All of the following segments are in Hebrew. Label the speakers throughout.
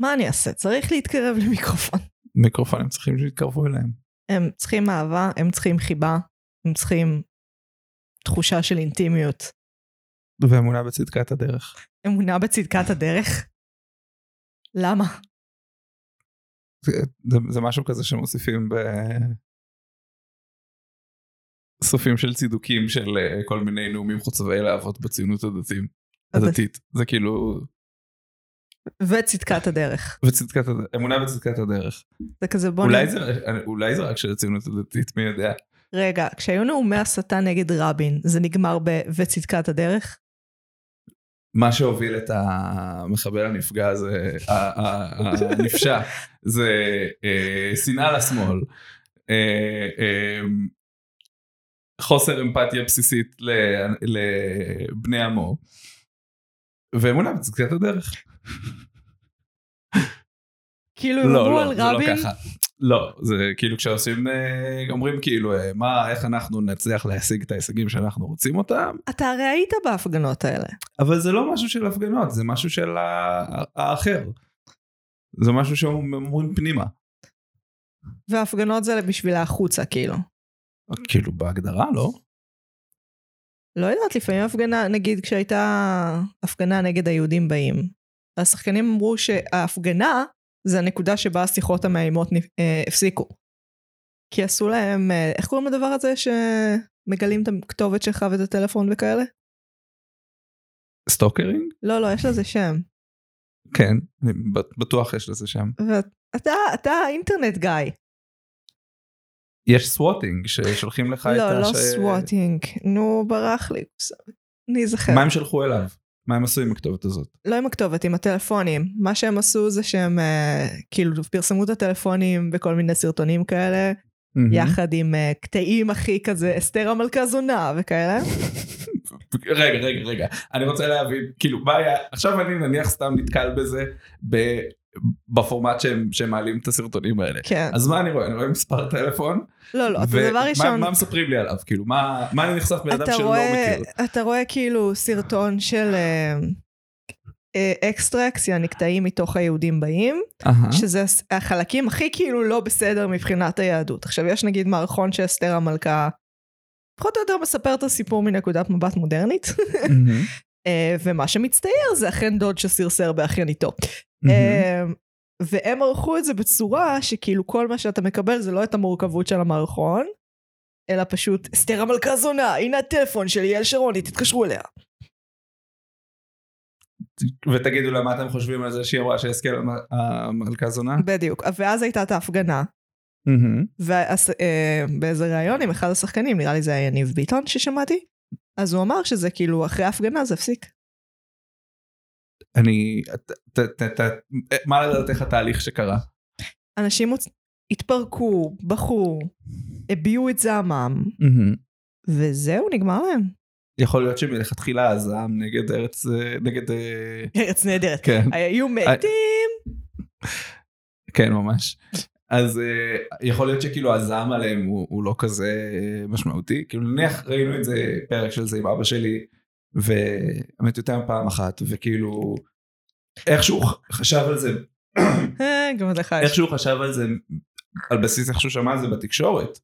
Speaker 1: מה אני אעשה? צריך להתקרב למיקרופון.
Speaker 2: מיקרופונים צריכים שיתקרבו אליהם.
Speaker 1: הם צריכים אהבה, הם צריכים חיבה, הם צריכים תחושה של אינטימיות,
Speaker 2: ואמונה בצדקת הדרך.
Speaker 1: אמונה בצדקת הדרך. למה?
Speaker 2: זה, זה, זה משהו כזה שמוסיפים ב... סופים של צידוקים של אה, כל מיני נאומים חוצבי להבות בציונות הדתיים.
Speaker 1: אבל-
Speaker 2: הדתית. זה כאילו...
Speaker 1: וצדקת הדרך.
Speaker 2: בצדקת הדרך. אמונה בצדקת הדרך.
Speaker 1: זה כזה בוא...
Speaker 2: אולי
Speaker 1: נ-
Speaker 2: זה, אולי זה רק של הציונות הדתית, מי יודע.
Speaker 1: רגע, כשהיו נאומי הסתה נגד רבין, זה נגמר ב... וצדקת הדרך?
Speaker 2: מה שהוביל את המחבל הנפגע הזה, ה- ה- ה- הנפשע, זה אה, שנאה לשמאל, אה, אה, חוסר אמפתיה בסיסית ל- לבני עמו, ואמונה בצדקת הדרך.
Speaker 1: כאילו, אם אמרו
Speaker 2: לא,
Speaker 1: על
Speaker 2: לא, זה לא
Speaker 1: רבין,
Speaker 2: ככה. לא, זה כאילו כשעושים, אה, אומרים כאילו, אה, מה, איך אנחנו נצליח להשיג את ההישגים שאנחנו רוצים אותם,
Speaker 1: אתה הרי היית בהפגנות האלה.
Speaker 2: אבל זה לא משהו של הפגנות, זה משהו של ה- האחר. זה משהו שהם אומרים פנימה.
Speaker 1: וההפגנות זה בשביל החוצה, כאילו.
Speaker 2: כאילו בהגדרה, לא?
Speaker 1: לא יודעת, לפעמים הפגנה, נגיד כשהייתה הפגנה נגד היהודים באים, השחקנים אמרו שההפגנה זה הנקודה שבה השיחות המאיימות נפ- אה, הפסיקו. כי עשו להם, אה, איך קוראים לדבר הזה שמגלים את הכתובת שלך ואת הטלפון וכאלה?
Speaker 2: סטוקרינג?
Speaker 1: לא, לא, יש לזה שם.
Speaker 2: כן, אני ב- בטוח יש לזה שם.
Speaker 1: ואתה, אתה האינטרנט גיא.
Speaker 2: יש סוואטינג ששולחים לך את
Speaker 1: לא, לא
Speaker 2: ש-
Speaker 1: סוואטינג. נו, ברח לי. אני אזכר.
Speaker 2: מה הם שלחו אליו? מה הם עשו עם הכתובת הזאת?
Speaker 1: לא עם הכתובת, עם הטלפונים. מה שהם עשו זה שהם אה, כאילו פרסמו את הטלפונים בכל מיני סרטונים כאלה,
Speaker 2: Mm-hmm.
Speaker 1: יחד עם אה, קטעים הכי כזה, אסתר המלכה זונה וכאלה.
Speaker 2: רגע, רגע, רגע. אני רוצה להבין, כאילו, מה היה... עכשיו אני נניח סתם נתקל בזה ב- בפורמט שהם- שהם מעלים את הסרטונים האלה.
Speaker 1: כן.
Speaker 2: אז מה אני רואה? אני רואה מספר טלפון,
Speaker 1: לא, לא, אתה
Speaker 2: ו-
Speaker 1: דבר
Speaker 2: מה-
Speaker 1: ראשון,
Speaker 2: מה מספרים לי עליו? כאילו, מה מה אני נחשף בן אדם
Speaker 1: אתה
Speaker 2: שלא
Speaker 1: רואה-
Speaker 2: מכיר?
Speaker 1: אתה רואה כאילו סרטון של אה, אה, אקסטרקס, יעני קטעים מתוך היהודים באים,
Speaker 2: אהה.
Speaker 1: שזה הס- החלקים הכי כאילו לא בסדר מבחינת היהדות. עכשיו, יש נגיד מערכון שאסתר המלכה, פחות או יותר מספר את הסיפור מנקודת מבט מודרנית.
Speaker 2: מהמם,
Speaker 1: אה, ומה שמצטייר זה אכן דוד שסרסר באחייניתו.
Speaker 2: מהמם.
Speaker 1: אה, והם ערכו את זה בצורה שכאילו כל מה שאתה מקבל זה לא את המורכבות של המערכון, אלא פשוט, אסתר המלכה זונה, הנה הטלפון של יעל שרוני, תתקשרו אליה.
Speaker 2: ותגידו לה מה אתם חושבים על זה שהיא אמרה שהסכם המלכה
Speaker 1: אה.
Speaker 2: זונה?
Speaker 1: בדיוק. ואז הייתה את ההפגנה,
Speaker 2: מהמם.
Speaker 1: ובאיזה ראיון עם אחד השחקנים, נראה לי זה היה יניב ביטון ששמעתי, אז הוא אמר שזה כאילו, אחרי ההפגנה זה הפסיק.
Speaker 2: אני... ת- ת- ת- ת- מה לדעתך התהליך שקרה?
Speaker 1: אנשים הוצ- התפרקו, בחרו, הביעו את זעמם, וזהו, נגמר להם.
Speaker 2: יכול להיות שמלכתחילה הזעם נגד ארץ... אה, נגד... אה,
Speaker 1: ארץ נהדרת. אה,
Speaker 2: כן.
Speaker 1: היו מתים.
Speaker 2: כן ממש. אז אה, יכול להיות שכאילו הזעם עליהם הוא, הוא לא כזה אה, משמעותי כאילו נניח ראינו את זה פרק של זה עם אבא שלי ומטוטם פעם אחת וכאילו איכשהו הוא חשב על זה
Speaker 1: אה, גם לך יש.
Speaker 2: איכשהו הוא חשב על זה על בסיס איך שהוא שמע על זה בתקשורת.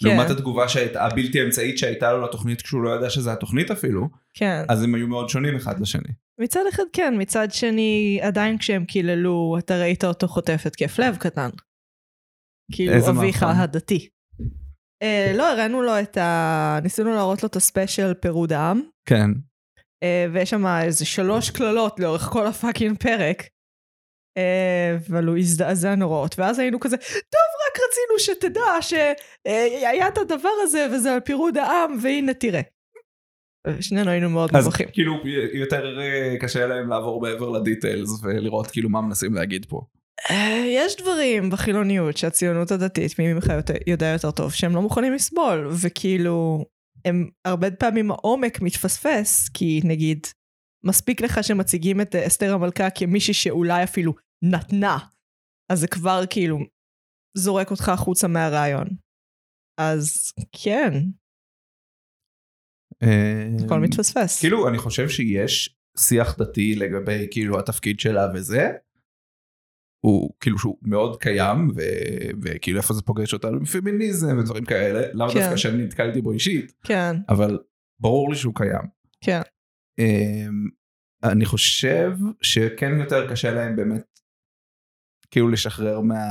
Speaker 1: כן.
Speaker 2: לעומת התגובה שהייתה הבלתי אמצעית שהייתה לו לתוכנית כשהוא לא ידע שזה התוכנית אפילו
Speaker 1: כן.
Speaker 2: אז הם היו מאוד שונים אחד לשני.
Speaker 1: מצד אחד כן, מצד שני, עדיין כשהם קיללו, אתה ראית אותו חוטף התקף לב קטן. כאילו
Speaker 2: איזה
Speaker 1: אביך
Speaker 2: מערכון.
Speaker 1: הדתי. אה, לא, הראינו לו את ה... ניסינו להראות לו את הספיישל פירוד העם,
Speaker 2: כן.
Speaker 1: אה, ויש שם איזה שלוש קללות לאורך כל הפאקינג פרק. אה, אבל הוא הזדעזע נוראות, ואז היינו כזה, טוב, רק רצינו שתדע שהיה את הדבר הזה, וזה על פירוד העם, והנה תראה. שנינו היינו מאוד
Speaker 2: אז
Speaker 1: מוכחים.
Speaker 2: כאילו יותר אה, קשה להם לעבור מעבר לדיטיילס ולראות כאילו מה מנסים להגיד פה.
Speaker 1: אה, יש דברים בחילוניות שהציונות הדתית, מי ממך יותר- יודע יותר טוב, שהם לא מוכנים לסבול, וכאילו, הם הרבה פעמים העומק מתפספס, כי נגיד, מספיק לך שמציגים את אה, אסתר המלכה כמישהי שאולי אפילו נתנה, אז זה כבר כאילו זורק אותך החוצה מהרעיון. אז כן, הכל מתפספס.
Speaker 2: כאילו אני חושב שיש שיח דתי לגבי כאילו התפקיד שלה וזה הוא כאילו שהוא מאוד קיים ו, וכאילו איפה זה פוגש אותנו בפמיניזם ודברים כאלה לאו
Speaker 1: כן.
Speaker 2: דווקא שאני נתקלתי בו אישית
Speaker 1: כן,
Speaker 2: אבל ברור לי שהוא קיים.
Speaker 1: כן.
Speaker 2: אמ, אני חושב שכן יותר קשה להם באמת כאילו לשחרר מה...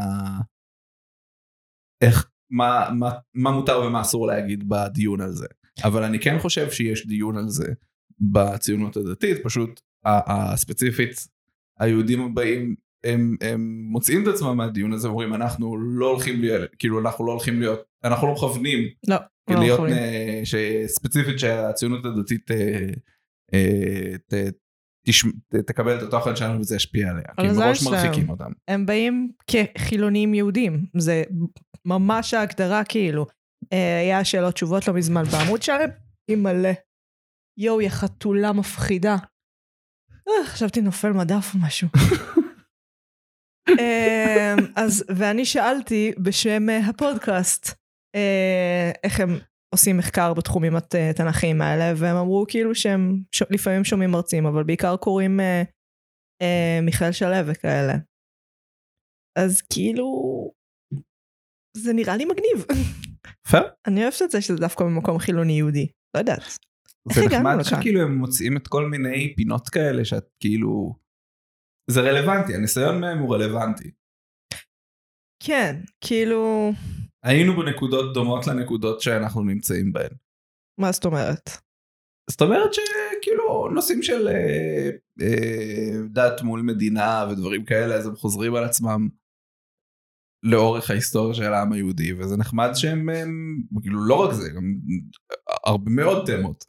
Speaker 2: איך, מה, מה, מה מותר ומה אסור להגיד בדיון על זה. אבל אני כן חושב שיש דיון על זה בציונות הדתית, פשוט ה- הספציפית היהודים הבאים הם, הם מוצאים את עצמם מהדיון הזה ואומרים אנחנו לא הולכים להיות, כאילו אנחנו לא הולכים להיות, אנחנו לא מכוונים
Speaker 1: לא, לא
Speaker 2: להיות
Speaker 1: יכולים.
Speaker 2: אה, ש- ספציפית שהציונות הדתית אה, אה, ת- תשמ- ת- תקבל את התוכן שלנו וזה ישפיע עליה. כי
Speaker 1: הזין
Speaker 2: מראש
Speaker 1: שלהם.
Speaker 2: מרחיקים אותם.
Speaker 1: הם באים כחילונים יהודים, זה ממש ההגדרה כאילו. אה, היה שאלות תשובות לא מזמן בעמוד שלהם, היא מלא. יואו, היא חתולה מפחידה. אה, חשבתי נופל מדף או משהו. אה, אז, ואני שאלתי בשם אה, הפודקאסט, אה, איך הם עושים מחקר בתחומים הת- התנ"כיים האלה, והם אמרו כאילו שהם ש... לפעמים שומעים מרצים, אבל בעיקר קוראים אה, אה, מיכאל שלו וכאלה. אז כאילו, זה נראה לי מגניב.
Speaker 2: פייר.
Speaker 1: אני אוהבת את זה שזה דווקא במקום חילוני יהודי. לא יודעת. איך
Speaker 2: זה
Speaker 1: הגענו
Speaker 2: נחמד
Speaker 1: לכאן?
Speaker 2: שכאילו הם מוצאים את כל מיני פינות כאלה שאת כאילו... זה רלוונטי, הניסיון מהם הוא רלוונטי.
Speaker 1: כן, כאילו,
Speaker 2: היינו בנקודות דומות לנקודות שאנחנו נמצאים בהן.
Speaker 1: מה זאת אומרת?
Speaker 2: זאת אומרת שכאילו נושאים של אה, אה, דת מול מדינה ודברים כאלה אז הם חוזרים על עצמם לאורך ההיסטוריה של העם היהודי וזה נחמד שהם הם, כאילו לא רק זה גם הרבה מאוד תמות.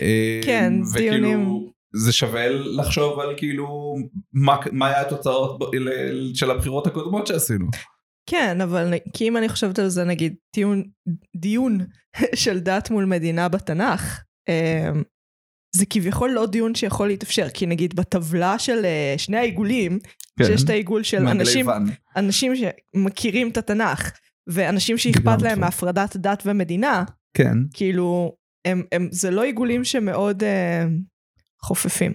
Speaker 2: אה,
Speaker 1: כן,
Speaker 2: וכאילו,
Speaker 1: דיונים.
Speaker 2: זה שווה לחשוב על כאילו מה, מה היה התוצאות ב, ל, של הבחירות הקודמות שעשינו.
Speaker 1: כן, אבל נ- כי אם אני חושבת על זה, נגיד, טיעון, דיון של דת מול מדינה בתנ"ך, אמ, זה כביכול לא דיון שיכול להתאפשר, כי נגיד בטבלה של אה, שני העיגולים,
Speaker 2: כן.
Speaker 1: שיש את העיגול של
Speaker 2: מנדלי
Speaker 1: אנשים,
Speaker 2: ואן.
Speaker 1: אנשים שמכירים את התנ"ך, ואנשים שאכפת
Speaker 2: דיברנו
Speaker 1: להם
Speaker 2: פה.
Speaker 1: מהפרדת דת ומדינה,
Speaker 2: כן.
Speaker 1: כאילו, הם, הם, זה לא עיגולים שמאוד אה, חופפים,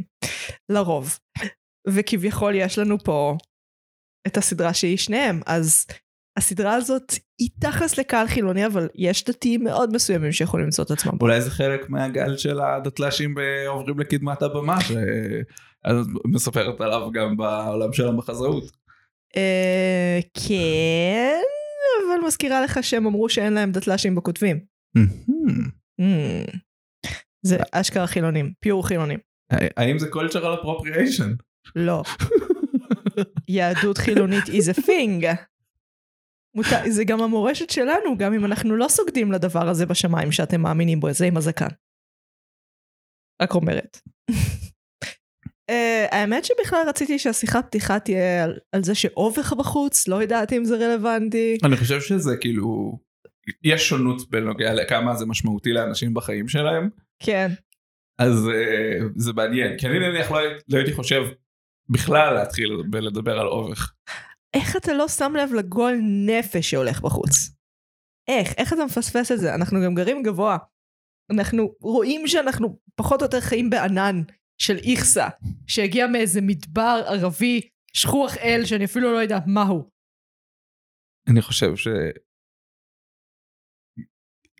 Speaker 1: לרוב. וכביכול יש לנו פה את הסדרה שהיא שניהם, אז הסדרה הזאת היא תכלס לקהל חילוני, אבל יש דתיים מאוד מסוימים שיכולים למצוא את עצמם פה.
Speaker 2: אולי זה חלק מהגל של הדתל"שים ב- עוברים לקדמת הבמה, שאת מספרת עליו גם בעולם של המחזאות.
Speaker 1: אה, כן, אבל מזכירה לך שהם אמרו שאין להם דתל"שים בכותבים. Hmm. זה אשכרה חילונים, פיור חילונים.
Speaker 2: האם זה cultural appropriation?
Speaker 1: לא. יהדות חילונית is a thing. מותר, זה גם המורשת שלנו, גם אם אנחנו לא סוגדים לדבר הזה בשמיים שאתם מאמינים בו, זה עם הזקן. רק אומרת. אה, האמת שבכלל רציתי שהשיחת פתיחה תהיה על, על זה שאובך בחוץ, לא יודעת אם זה רלוונטי.
Speaker 2: אני חושב שזה כאילו, יש שונות בנוגע לכמה זה משמעותי לאנשים בחיים שלהם,
Speaker 1: כן,
Speaker 2: אז אה, זה מעניין, כי אני נניח לא הי- לא הייתי חושב בכלל להתחיל בלדבר על אובך.
Speaker 1: איך אתה לא שם לב לגועל נפש שהולך בחוץ? איך? איך אתה מפספס את זה? אנחנו גם גרים גבוה. אנחנו רואים שאנחנו פחות או יותר חיים בענן של איכסה, שהגיע מאיזה מדבר ערבי, שכוח אל, שאני אפילו לא יודעת מהו.
Speaker 2: אני חושב ש...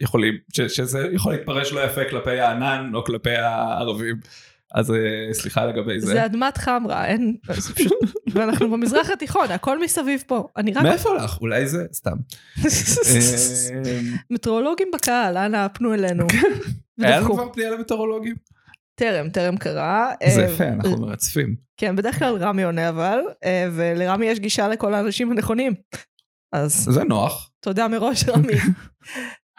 Speaker 2: יכולים, ש, שזה יכול להתפרש לא יפה כלפי הענן או כלפי הערבים, אז אה, סליחה לגבי זה.
Speaker 1: זה, אדמת חמרה, אין... זה פשוט... ואנחנו במזרח התיכון, הכל מסביב פה. אני רק...
Speaker 2: מאיפה לך? אולי זה? סתם. אה,
Speaker 1: מטרולוגים בקהל, אנא פנו אלינו.
Speaker 2: כן. היה לנו
Speaker 1: ודווחו.
Speaker 2: כבר פנייה למטאורולוגים?
Speaker 1: טרם, טרם קרה.
Speaker 2: זה
Speaker 1: אה,
Speaker 2: יפה, אנחנו מרצפים.
Speaker 1: כן, בדרך כלל רמי עונה אבל, אה, ולרמי יש גישה לכל האנשים הנכונים. אז
Speaker 2: זה נוח.
Speaker 1: תודה מראש, רמי.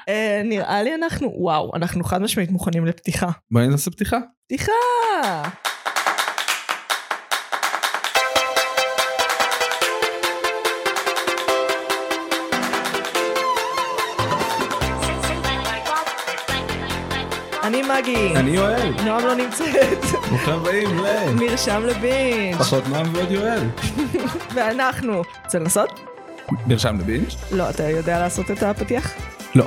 Speaker 1: אה, נראה לי אנחנו, וואו, אנחנו חד משמעית מוכנים לפתיחה.
Speaker 2: בואי נעשה פתיחה.
Speaker 1: פתיחה! אני מגי,
Speaker 2: אני יואל,
Speaker 1: נועם לא נמצאת,
Speaker 2: ברוכים הבאים ל...
Speaker 1: מרשם לבינג',
Speaker 2: פחות נועם ועוד יואל.
Speaker 1: ואנחנו, רוצה לנסות?
Speaker 2: נרשם לבינג'?
Speaker 1: לא, אתה יודע לעשות את הפתיח?
Speaker 2: לא.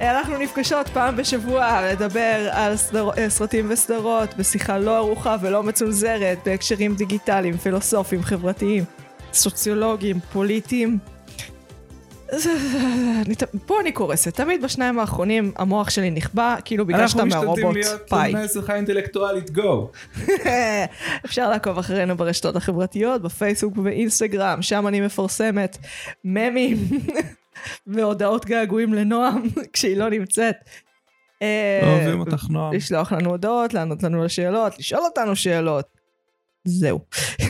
Speaker 1: אנחנו נפגשות פעם בשבוע לדבר על סדר... אה, סרטים וסדרות בשיחה לא ארוכה ולא מצונזרת בהקשרים דיגיטליים, פילוסופיים, חברתיים, סוציולוגיים, פוליטיים. אני ת- פה אני קורסת, תמיד בשניים האחרונים המוח שלי נכבה, כאילו ביקשת מהרובוט, אה,
Speaker 2: אנחנו משתדלים
Speaker 1: ביי.
Speaker 2: להיות מהשיחה האינטלקטואלית, גו.
Speaker 1: אפשר לעקוב אחרינו ברשתות החברתיות, בפייסבוק ובאינסטגרם, שם אני מפרסמת ממים והודעות געגועים לנועם כשהיא לא נמצאת. אה,
Speaker 2: אוהבים אותך נועם.
Speaker 1: לשלוח לנו הודעות, לענות לנו לשאלות, לשאול אותנו שאלות. זהו.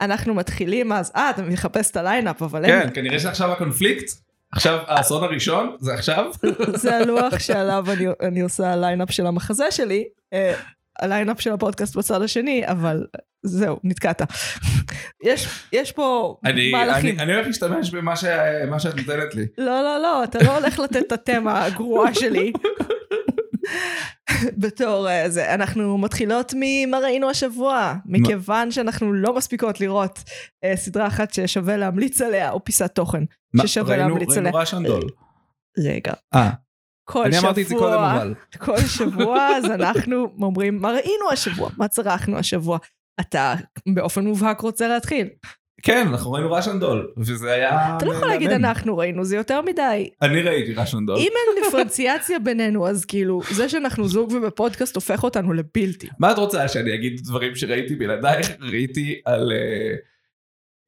Speaker 1: אנחנו מתחילים אז, אה, אתה מחפש את הליינאפ, אבל אין,
Speaker 2: כן, כנראה שעכשיו הקונפליקט, עכשיו האסון הראשון, זה עכשיו.
Speaker 1: זה הלוח שעליו אני, אני עושה הליינאפ של המחזה שלי, אה, הליינאפ של הפודקאסט בצד השני, אבל זהו, נתקעת. יש, יש פה
Speaker 2: אני,
Speaker 1: מהלכים.
Speaker 2: אני, אני הולך להשתמש במה ש, מה שאת נותנת לי.
Speaker 1: לא, לא, לא, אתה לא הולך לתת את התמה הגרועה שלי. בתור אה, זה, אנחנו מתחילות ממה ראינו השבוע, מכיוון שאנחנו לא מספיקות לראות אה, סדרה אחת ששווה להמליץ עליה, או פיסת תוכן ששווה
Speaker 2: ראינו-
Speaker 1: להמליץ עליה.
Speaker 2: ראינו רעש אנדול.
Speaker 1: רגע,
Speaker 2: אה,
Speaker 1: כל
Speaker 2: אני
Speaker 1: שבוע,
Speaker 2: אמרתי את זה קודם אבל.
Speaker 1: כל שבוע, אז אנחנו אומרים, מה ראינו השבוע? מה צרכנו השבוע? אתה באופן מובהק רוצה להתחיל.
Speaker 2: כן, אנחנו ראינו רעש אנדול, וזה היה...
Speaker 1: אתה לא יכול להגיד
Speaker 2: מהמם.
Speaker 1: אנחנו ראינו, זה יותר מדי.
Speaker 2: אני ראיתי רעש אנדול.
Speaker 1: אם אין דיפרנציאציה בינינו, אז כאילו, זה שאנחנו זוג ובפודקאסט הופך אותנו לבלתי.
Speaker 2: מה את רוצה שאני אגיד דברים שראיתי בלעדייך? ראיתי על... אה,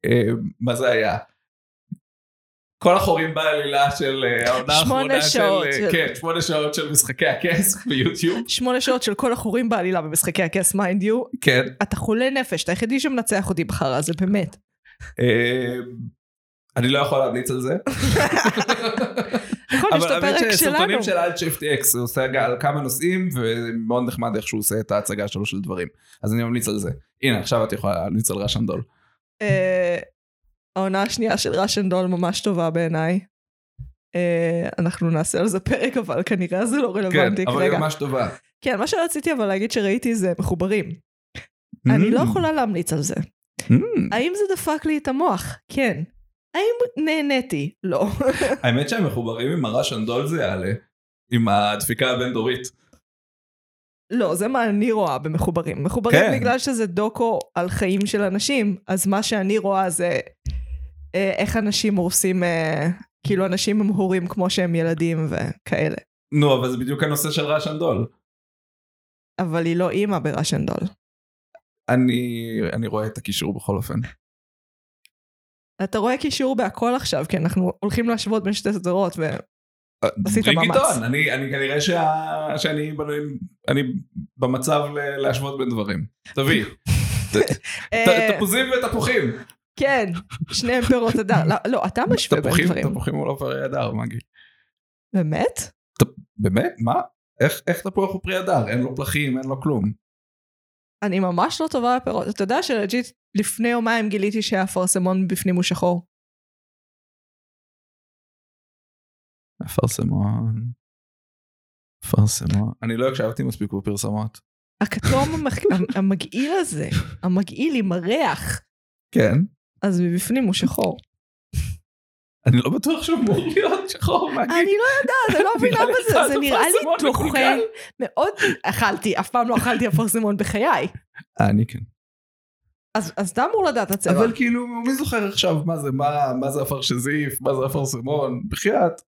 Speaker 2: אה, מה זה היה? כל החורים בעלילה של אה, העונה
Speaker 1: שמונה
Speaker 2: האחרונה של...
Speaker 1: שעות.
Speaker 2: אה, כן, שמונה שעות של משחקי הכס ביוטיוב.
Speaker 1: שמונה שעות של כל החורים בעלילה במשחקי הכס, מיינד יו,
Speaker 2: כן.
Speaker 1: אתה חולה נפש, אתה היחידי שמנצח אותי בחרא, זה באמת.
Speaker 2: אה, אני לא יכול להמליץ על זה.
Speaker 1: נכון, יש את
Speaker 2: אבל האמת
Speaker 1: הפרק
Speaker 2: שסרטונים
Speaker 1: שלנו.
Speaker 2: של אלט שיפט אקס הוא עושה על כמה נושאים ומאוד נחמד איך שהוא עושה את ההצגה שלו של דברים. אז אני ממליץ על זה. הנה עכשיו את יכולה להמליץ על רשם דול.
Speaker 1: אה, העונה השנייה של ראש אנד דול ממש טובה בעיניי. אה, אנחנו נעשה על זה פרק, אבל כנראה זה לא
Speaker 2: כן,
Speaker 1: רלוונטי
Speaker 2: אבל היא
Speaker 1: כרגע.
Speaker 2: ממש טובה.
Speaker 1: כן, מה שרציתי אבל להגיד שראיתי זה מחוברים. אני לא יכולה להמליץ על זה.
Speaker 2: Mm.
Speaker 1: האם זה דפק לי את המוח? כן. האם נהניתי? לא.
Speaker 2: האמת שהם מחוברים עם הרשנדול זה יעלה, עם הדפיקה הבין-דורית.
Speaker 1: לא, זה מה אני רואה במחוברים. מחוברים
Speaker 2: כן.
Speaker 1: בגלל שזה דוקו על חיים של אנשים, אז מה שאני רואה זה אה, איך אנשים הורסים, אה, כאילו אנשים הם הורים כמו שהם ילדים וכאלה.
Speaker 2: נו, אבל זה בדיוק הנושא של רשנדול.
Speaker 1: אבל היא לא אימא בראשנדול.
Speaker 2: אני, אני רואה את הקישור בכל אופן.
Speaker 1: אתה רואה קישור בהכל עכשיו, כי אנחנו הולכים להשוות בין שתי סדרות, ו- עשית
Speaker 2: דריק
Speaker 1: מאמץ.
Speaker 2: עיתון, אני, אני כנראה שה, שאני בנוי- אני במצב ל- להשוות בין דברים. תביא.
Speaker 1: אה,
Speaker 2: ת- תפוזים ותפוחים.
Speaker 1: כן, שניהם פירות הדר. לא- לא, אתה משווה בין
Speaker 2: תפוחים,
Speaker 1: דברים.
Speaker 2: תפוחים הוא לא פרי הדר, מגי.
Speaker 1: באמת?
Speaker 2: באמת? מה? איך, איך תפוח הוא פרי הדר? אין לו פלחים, אין לו כלום.
Speaker 1: אני ממש לא טובה בפירות. אתה יודע שלג'יט לפני יומיים גיליתי שהאפרסמון בפנים הוא שחור.
Speaker 2: אפרסמון. אפרסמון. אני לא הקשבתי מספיק בפרסמות.
Speaker 1: הכתום המח- המ- המגעיל הזה, המגעיל עם הריח,
Speaker 2: כן.
Speaker 1: אז מבפנים הוא שחור.
Speaker 2: אני לא בטוח שהוא אמור להיות שחור, מגי.
Speaker 1: אני לא יודעת, אני לא מבינה
Speaker 2: נראה לי
Speaker 1: בזה, זה
Speaker 2: קצת
Speaker 1: נראה לי
Speaker 2: אפרסמון
Speaker 1: דוחה
Speaker 2: מקולקל.
Speaker 1: מאוד. אכלתי, אף פעם לא אכלתי אפרסמון בחיי.
Speaker 2: אה, אני כן.
Speaker 1: אז אז אתה אמור לדעת את זה.
Speaker 2: אבל כאילו, מי זוכר עכשיו מה זה, מה- מה זה אפרשזיף, מה זה אפרסמון? בחייאת,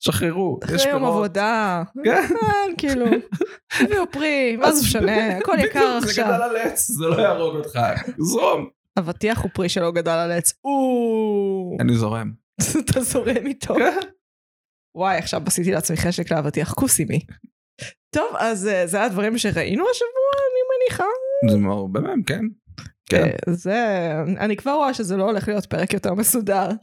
Speaker 2: שחררו. יש
Speaker 1: אחרי יום
Speaker 2: פירות.
Speaker 1: עבודה.
Speaker 2: כן.
Speaker 1: כן, כאילו. הביאו פרי, מה זה משנה, הכל יקר
Speaker 2: בדיוק, זה
Speaker 1: עכשיו.
Speaker 2: גדל על עץ, זה לא יהרוג אותך. זרום.
Speaker 1: אבטיח הוא פרי שלא גדל על עץ. או,
Speaker 2: אני זורם.
Speaker 1: אתה זורם איתו.
Speaker 2: כן.
Speaker 1: וואי, עכשיו עשיתי לעצמי חשק לאבטיח כוסימי. טוב, אז אה, זה הדברים שראינו השבוע, אני מניחה.
Speaker 2: זה הרבה מהם, כן. כן.
Speaker 1: אה, זה... אני כבר רואה שזה לא הולך להיות פרק יותר מסודר.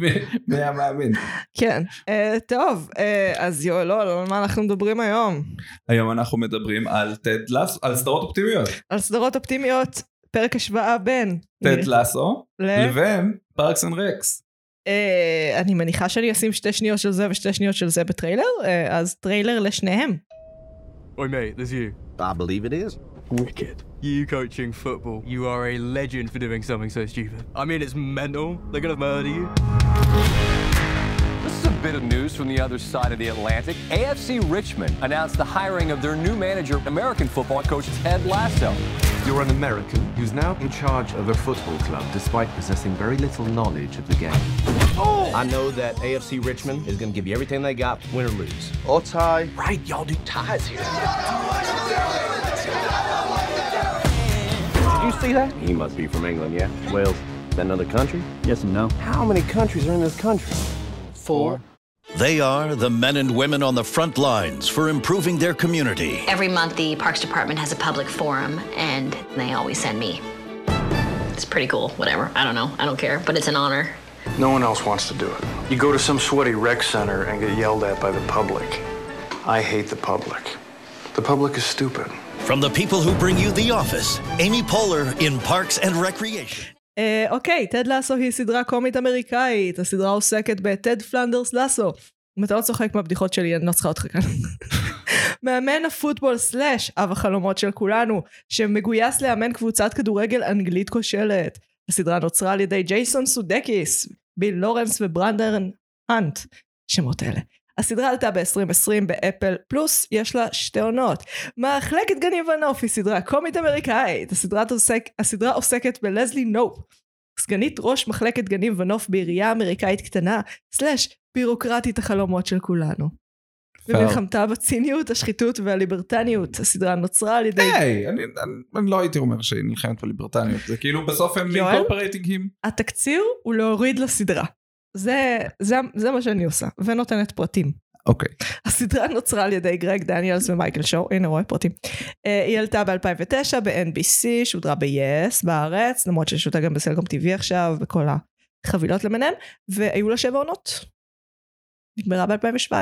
Speaker 2: מי- מי היה מאמין?
Speaker 1: כן. אה, טוב, אה, אז יואל, לא, על מה אנחנו מדברים היום?
Speaker 2: היום אנחנו מדברים על טד לסו, על סדרות אופטימיות.
Speaker 1: על סדרות אופטימיות, פרק השוואה בין...
Speaker 2: טד לסו
Speaker 1: ל-
Speaker 2: לבין פארקס אנד רקס.
Speaker 1: אה, אני מניחה שאני אשים שתי שניות של זה ושתי שניות של זה בטריילר, אה, אז טריילר לשניהם.
Speaker 3: Oi, mate, there's you.
Speaker 4: I believe it is.
Speaker 3: Wicked. You coaching football. You are a legend for doing something so stupid. I mean, it's mental. They're gonna murder you.
Speaker 5: This is a bit of news from the other side of the Atlantic. AFC Richmond announced the hiring of their new manager, American football coach Ted Lasso.
Speaker 4: You're an American who's now in charge of a football club despite possessing very little knowledge of the game.
Speaker 6: Oh! I know that AFC Richmond is going to give you everything they got, win or lose.
Speaker 4: Or tie.
Speaker 6: Right, y'all do ties here.
Speaker 4: Did you see that?
Speaker 6: He must be from England, yeah? Wales. Is that another country?
Speaker 7: Yes and no.
Speaker 6: How many countries are in this country? Four.
Speaker 8: They are the men and women on the front lines for improving their community.
Speaker 9: Every month, the Parks Department has a public forum, and they always send me. It's pretty cool, whatever. I don't know. I don't care, but it's an honor.
Speaker 10: No one else wants to do it. You go to some sweaty rec center and get yelled at by the public. I hate the public. The public is stupid.
Speaker 8: From the people who bring you The Office, Amy Poehler in Parks and Recreation.
Speaker 1: אה, אוקיי, טד לאסו היא סדרה קומית אמריקאית, הסדרה עוסקת בטד פלנדרס לאסו. אם אתה לא צוחק מהבדיחות שלי, אני לא צריכה אותך כאן. מאמן הפוטבול סלאש, אב החלומות של כולנו, שמגויס לאמן קבוצת כדורגל אנגלית כושלת. הסדרה נוצרה על ידי ג'ייסון סודקיס, ביל לורנס וברנדרן האנט, שמות אלה. הסדרה עלתה ב-2020 באפל פלוס, יש לה שתי עונות. מחלקת גנים ונוף היא סדרה קומית אמריקאית. הסדרת עוסק, הסדרה עוסקת בלזלי נופ, סגנית ראש מחלקת גנים ונוף בעירייה אמריקאית קטנה, סלאש בירוקרטית החלומות של כולנו. במלחמתה בציניות, השחיתות והליברטניות, הסדרה נוצרה על ידי...
Speaker 2: היי, אני אני- אני לא הייתי אומר שהיא נלחמת בליברטניות, זה כאילו בסוף הם
Speaker 1: יואל?
Speaker 2: אינקורפרייטינג him.
Speaker 1: התקציר הוא להוריד לסדרה. זה, זה, זה מה שאני עושה, ונותנת פרטים.
Speaker 2: אוקיי.
Speaker 1: הסדרה נוצרה על ידי גרג דניאלס ומייקל שור, הנה רואה פרטים. אה, היא עלתה ב-2009 ב-NBC, שודרה ב-yes בארץ, למרות ששותה גם בסלקום TV עכשיו, בכל החבילות למיניהם, והיו לה שבע עונות. נגמרה ב-2017.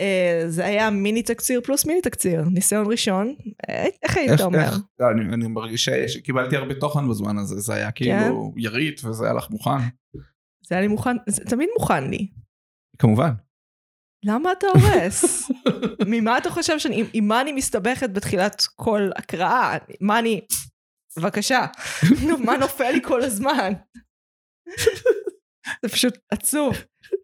Speaker 1: אה, זה היה מיני תקציר פלוס מיני תקציר, ניסיון ראשון, אה, איך היית
Speaker 2: איך-
Speaker 1: אומר?
Speaker 2: איך- לא, אני- אני מרגיש ש- שקיבלתי הרבה תוכן בזמן הזה, זה היה כאילו
Speaker 1: כן?
Speaker 2: ירית וזה היה לך מוכן.
Speaker 1: זה היה לי מוכן, זה תמיד מוכן לי.
Speaker 2: כמובן.
Speaker 1: למה אתה הורס? ממה אתה חושב שאני, עם- עם מה אני מסתבכת בתחילת כל הקראה? מה אני, בבקשה, נו, מה נופל לי כל הזמן? זה פשוט עצוב,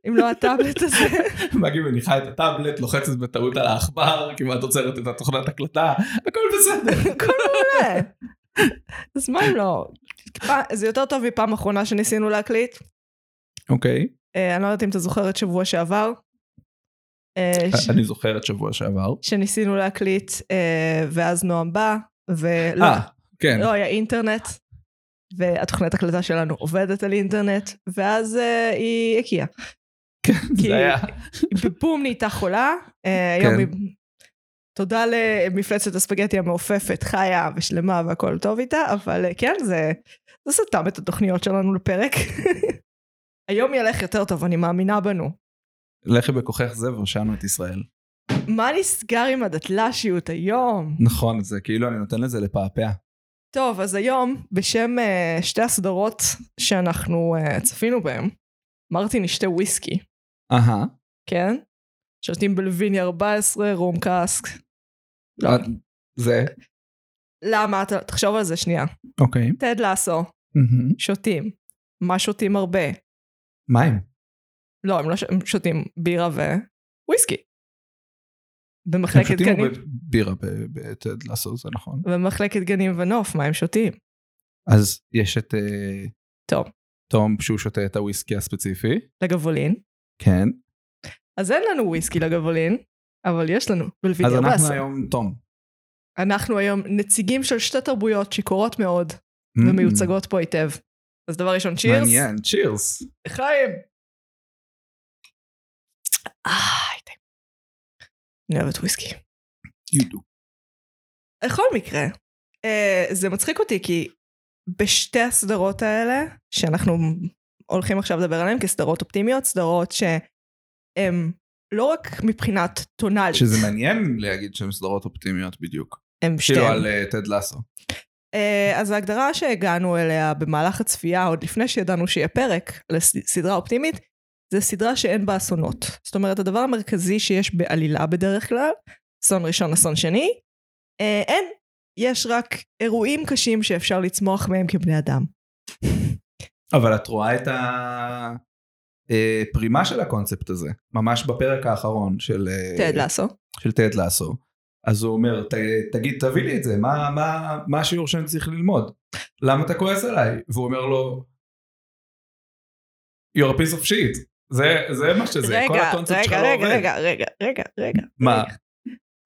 Speaker 1: אם לא הטאבלט הזה.
Speaker 2: מגי מניחה את הטאבלט, לוחצת בטעות על העכבר, כמעט עוצרת את התוכנת הקלטה, הכל בסדר.
Speaker 1: הכל מעולה. אז מה אם לא? פ- זה יותר טוב מפעם אחרונה שניסינו להקליט.
Speaker 2: אוקיי,
Speaker 1: אה, אני לא יודעת אם אתה זוכר את שבוע שעבר. אה, ש-
Speaker 2: אני זוכר את שבוע שעבר.
Speaker 1: שניסינו להקליט, אה, ואז נועם בא, ולא.
Speaker 2: אה, כן.
Speaker 1: לא היה אינטרנט, והתוכנית הקלטה שלנו עובדת על אינטרנט, ואז uh, היא הקיאה. כי
Speaker 2: זה היה,
Speaker 1: היא בבום נהייתה חולה, אה,
Speaker 2: כן.
Speaker 1: היום היא... תודה למפלצת הספגטי המעופפת, חיה ושלמה והכל טוב איתה, אבל אה, כן, זה, זה סתם את התוכניות שלנו לפרק. היום ילך יותר טוב, אני מאמינה בנו.
Speaker 2: לכי בכוחך זה והושענו את ישראל.
Speaker 1: מה נסגר עם הדתל"שיות היום?
Speaker 2: נכון, זה כאילו אני נותן לזה לפעפע.
Speaker 1: טוב, אז היום, בשם אה, שתי הסדרות שאנחנו אה, צפינו בהן, מרטין ישתה וויסקי,
Speaker 2: אהה.
Speaker 1: כן? שותים בלוויני 14, רום קאסק. לא.
Speaker 2: את- אה, זה,
Speaker 1: למה? אתה- תחשוב על זה שנייה.
Speaker 2: אוקיי.
Speaker 1: טד לאסו,
Speaker 2: מהמם.
Speaker 1: שותים. מה שותים הרבה?
Speaker 2: מים.
Speaker 1: לא, הם לא ש- הם שותים בירה וויסקי.
Speaker 2: הם
Speaker 1: במחלקת
Speaker 2: שותים
Speaker 1: גנים...
Speaker 2: הרבה בירה ב- בטד לעשות, זה נכון.
Speaker 1: במחלקת גנים ונוף, מה הם שותים?
Speaker 2: אז יש את אה,
Speaker 1: טוב.
Speaker 2: תום שהוא שותה את הוויסקי הספציפי.
Speaker 1: לגבולין.
Speaker 2: כן.
Speaker 1: אז אין לנו וויסקי לגבולין, אבל יש לנו בלוויני
Speaker 2: אז
Speaker 1: 14.
Speaker 2: אנחנו היום תום.
Speaker 1: אנחנו היום נציגים של שתי תרבויות שיכורות מאוד
Speaker 2: Mm,
Speaker 1: ומיוצגות פה היטב. אז דבר ראשון, צ'ירס.
Speaker 2: מעניין, צ'ירס.
Speaker 1: חיים. אה, הייתם. אני אוהבת וויסקי.
Speaker 2: You do.
Speaker 1: בכל מקרה, אה, זה מצחיק אותי כי בשתי הסדרות האלה, שאנחנו הולכים עכשיו לדבר עליהן כסדרות אופטימיות, סדרות שהן לא רק מבחינת טונאלית,
Speaker 2: שזה מעניין להגיד שהן סדרות אופטימיות בדיוק.
Speaker 1: הן
Speaker 2: כאילו
Speaker 1: שתיהן.
Speaker 2: על אה, טד לאסו.
Speaker 1: אה, אז ההגדרה שהגענו אליה במהלך הצפייה, עוד לפני שידענו שיהיה פרק לסדרה אופטימית, זה סדרה שאין בה אסונות. זאת אומרת, הדבר המרכזי שיש בעלילה בדרך כלל, אסון ראשון, אסון שני, אה, אין. יש רק אירועים קשים שאפשר לצמוח מהם כבני אדם.
Speaker 2: אבל את רואה את הפרימה של הקונספט הזה, ממש בפרק האחרון של אה,
Speaker 1: תעד לאסו.
Speaker 2: של תד לאסו, אז הוא אומר, "ת- תגיד, תביא לי את זה, מה, מה, מה השיעור שאני צריך ללמוד? למה אתה כועס עליי? והוא אומר לו, you're a piece of shit. זה, זה מה שזה, כל
Speaker 1: רגע,
Speaker 2: הקונספט שלך
Speaker 1: רגע,
Speaker 2: לא
Speaker 1: רגע,
Speaker 2: עובד.
Speaker 1: רגע, רגע, רגע, רגע.
Speaker 2: מה?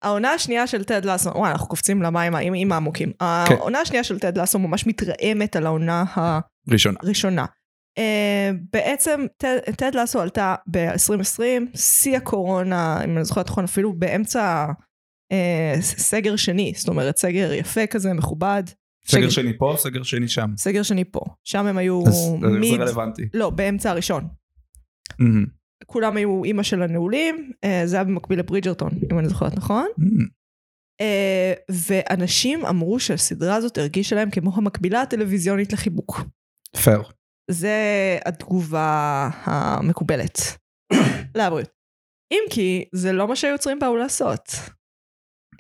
Speaker 1: העונה השנייה של טד לסו, וואי, אנחנו קופצים למים עם, עם העמוקים.
Speaker 2: כן.
Speaker 1: העונה השנייה של טד לסו ממש מתרעמת על העונה
Speaker 2: ראשונה.
Speaker 1: הראשונה. Uh, בעצם טד, טד לסו עלתה ב-2020, שיא הקורונה, אם אני זוכרת נכון, אפילו באמצע uh, סגר שני, זאת אומרת סגר יפה כזה, מכובד.
Speaker 2: סגר שני פה, סגר שני שם.
Speaker 1: סגר שני פה. שם הם היו
Speaker 2: אז אז
Speaker 1: מיד,
Speaker 2: זה רלוונטי.
Speaker 1: לא, באמצע הראשון.
Speaker 2: מהמם.
Speaker 1: כולם היו אימא של הנעולים, אה, זה היה במקביל לברידג'רטון, אם אני זוכרת נכון.
Speaker 2: מהמם.
Speaker 1: אה, ואנשים אמרו שהסדרה הזאת הרגישה להם כמו המקבילה הטלוויזיונית לחיבוק.
Speaker 2: פייר.
Speaker 1: זה התגובה המקובלת לבריאות. אם כי, זה לא מה שהיוצרים באו לעשות.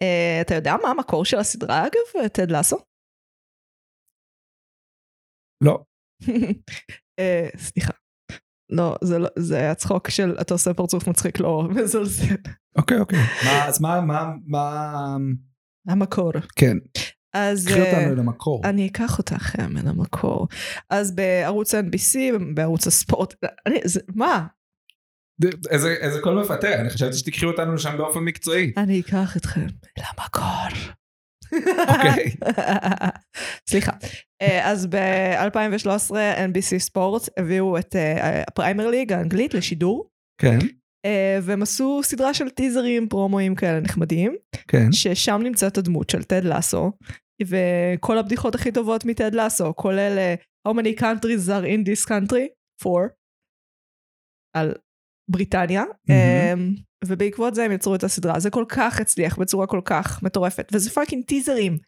Speaker 1: אה, אתה יודע מה המקור של הסדרה, אגב, טד לסו?
Speaker 2: לא.
Speaker 1: אה, סליחה. לא, זה, לא, זה היה צחוק של אתה עושה פרצוף מצחיק לא מזלזל.
Speaker 2: אוקיי, אוקיי. מה- אז מה, מה, מה...
Speaker 1: המקור.
Speaker 2: כן,
Speaker 1: אז...
Speaker 2: קחי
Speaker 1: אה,
Speaker 2: אותנו אל המקור.
Speaker 1: אני אקח אותך אמן המקור. אז בערוץ NBC, בערוץ הספורט, אה, אני, זה, מה?
Speaker 2: ד- איזה איזה קול מפתה, אני חשבתי שתיקחי אותנו לשם באופן מקצועי.
Speaker 1: אני אקח אתכם למקור.
Speaker 2: אוקיי.
Speaker 1: סליחה. אה, אז ב-2013 NBC ספורט הביאו את אה, הפריימר ליג האנגלית לשידור,
Speaker 2: כן,
Speaker 1: אה, והם עשו סדרה של טיזרים, פרומואים כאלה נחמדים,
Speaker 2: כן.
Speaker 1: ששם נמצאת הדמות של טד לסו, וכל הבדיחות הכי טובות מטד לסו, כולל אה, How many countries are in this country? Four. על בריטניה.
Speaker 2: מהמם.
Speaker 1: Mm-hmm. ובעקבות זה הם יצרו את הסדרה. זה כל כך הצליח בצורה כל כך מטורפת. וזה פאקינג טיזרים.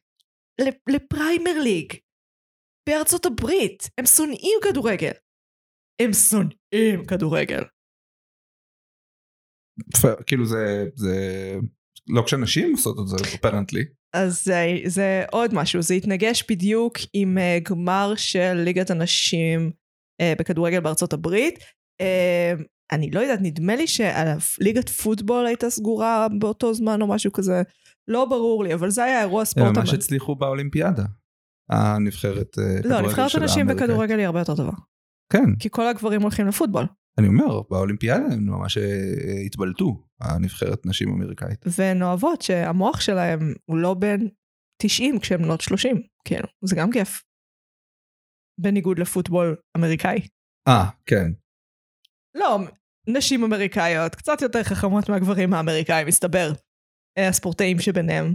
Speaker 1: ל- לפריימר ליג. בארצות הברית. הם שונאים כדורגל. הם שונאים כדורגל.
Speaker 2: פייר, כאילו זה, זה... לא כשנשים עושות את זה, אפרנטלי.
Speaker 1: אז זה, זה עוד משהו, זה התנגש בדיוק עם אה, גמר של ליגת הנשים אה, בכדורגל בארצות הברית. אה, אני לא יודעת, נדמה לי שליגת פוטבול הייתה סגורה באותו זמן או משהו כזה. לא ברור לי, לא, אבל זה היה אירוע
Speaker 2: הם
Speaker 1: ספורט.
Speaker 2: לא, ממש
Speaker 1: המ-
Speaker 2: הצליחו באולימפיאדה. הנבחרת אה,
Speaker 1: לא,
Speaker 2: כדורגל
Speaker 1: נבחרת
Speaker 2: של
Speaker 1: הנשים
Speaker 2: האמריקאית.
Speaker 1: בכדורגל היא הרבה יותר טובה.
Speaker 2: כן,
Speaker 1: כי כל הגברים הולכים לפוטבול.
Speaker 2: אני אומר, באולימפיאדה הם ממש אה, התבלטו, הנבחרת נשים אמריקאית.
Speaker 1: והן אוהבות שהמוח שלהם הוא לא בן 90 כשהן בנות 30. כאילו, זה גם כיף. בניגוד לפוטבול אמריקאי.
Speaker 2: אה, כן.
Speaker 1: לא, נשים אמריקאיות, קצת יותר חכמות מהגברים האמריקאים, מסתבר. אה, הספורטאים שביניהם.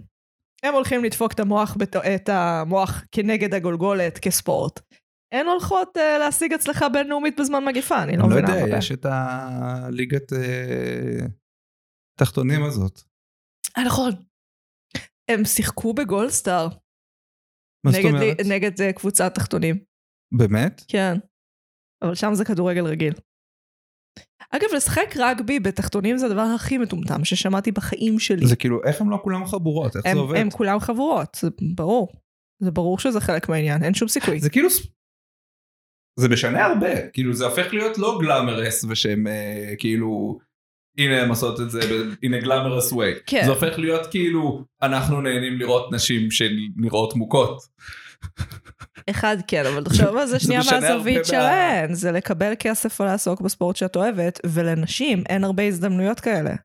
Speaker 1: הם הולכים לדפוק את המוח, בת... את המוח כנגד הגולגולת כספורט. הן הולכות uh, להשיג הצלחה בינלאומית בזמן מגפה, אני
Speaker 2: אני
Speaker 1: לא
Speaker 2: לא
Speaker 1: מבינה.
Speaker 2: יודע,
Speaker 1: מה
Speaker 2: יש את הליגת אה, תחתונים הזאת.
Speaker 1: הבעיה. אה, נכון. הם שיחקו בגולדסטאר
Speaker 2: מה זאת
Speaker 1: נגד,
Speaker 2: אומרת?
Speaker 1: לי- נגד uh, קבוצת תחתונים.
Speaker 2: באמת?
Speaker 1: כן. אבל שם זה כדורגל רגיל. אגב, לשחק רגבי בתחתונים זה הדבר הכי מטומטם ששמעתי בחיים שלי.
Speaker 2: זה כאילו, איך הם לא כולם חבורות? איך
Speaker 1: הם,
Speaker 2: זה עובד?
Speaker 1: הם כולם חבורות, זה ברור. זה ברור שזה חלק מהעניין, אין שום סיכוי.
Speaker 2: זה כאילו... ס- זה משנה הרבה, כאילו זה הופך להיות לא גלאמרס ושהם אה, כאילו הנה הם עושות את זה, ב- הנה גלאמרס ווי.
Speaker 1: כן.
Speaker 2: זה הופך להיות כאילו אנחנו נהנים לראות נשים שנראות מוכות.
Speaker 1: אחד כן, אבל תחשוב על זה שנייה
Speaker 2: משנה הרבה
Speaker 1: מהזווית
Speaker 2: מה-
Speaker 1: שלהן, זה לקבל כסף או לעסוק בספורט שאת אוהבת, ולנשים אין הרבה הזדמנויות כאלה.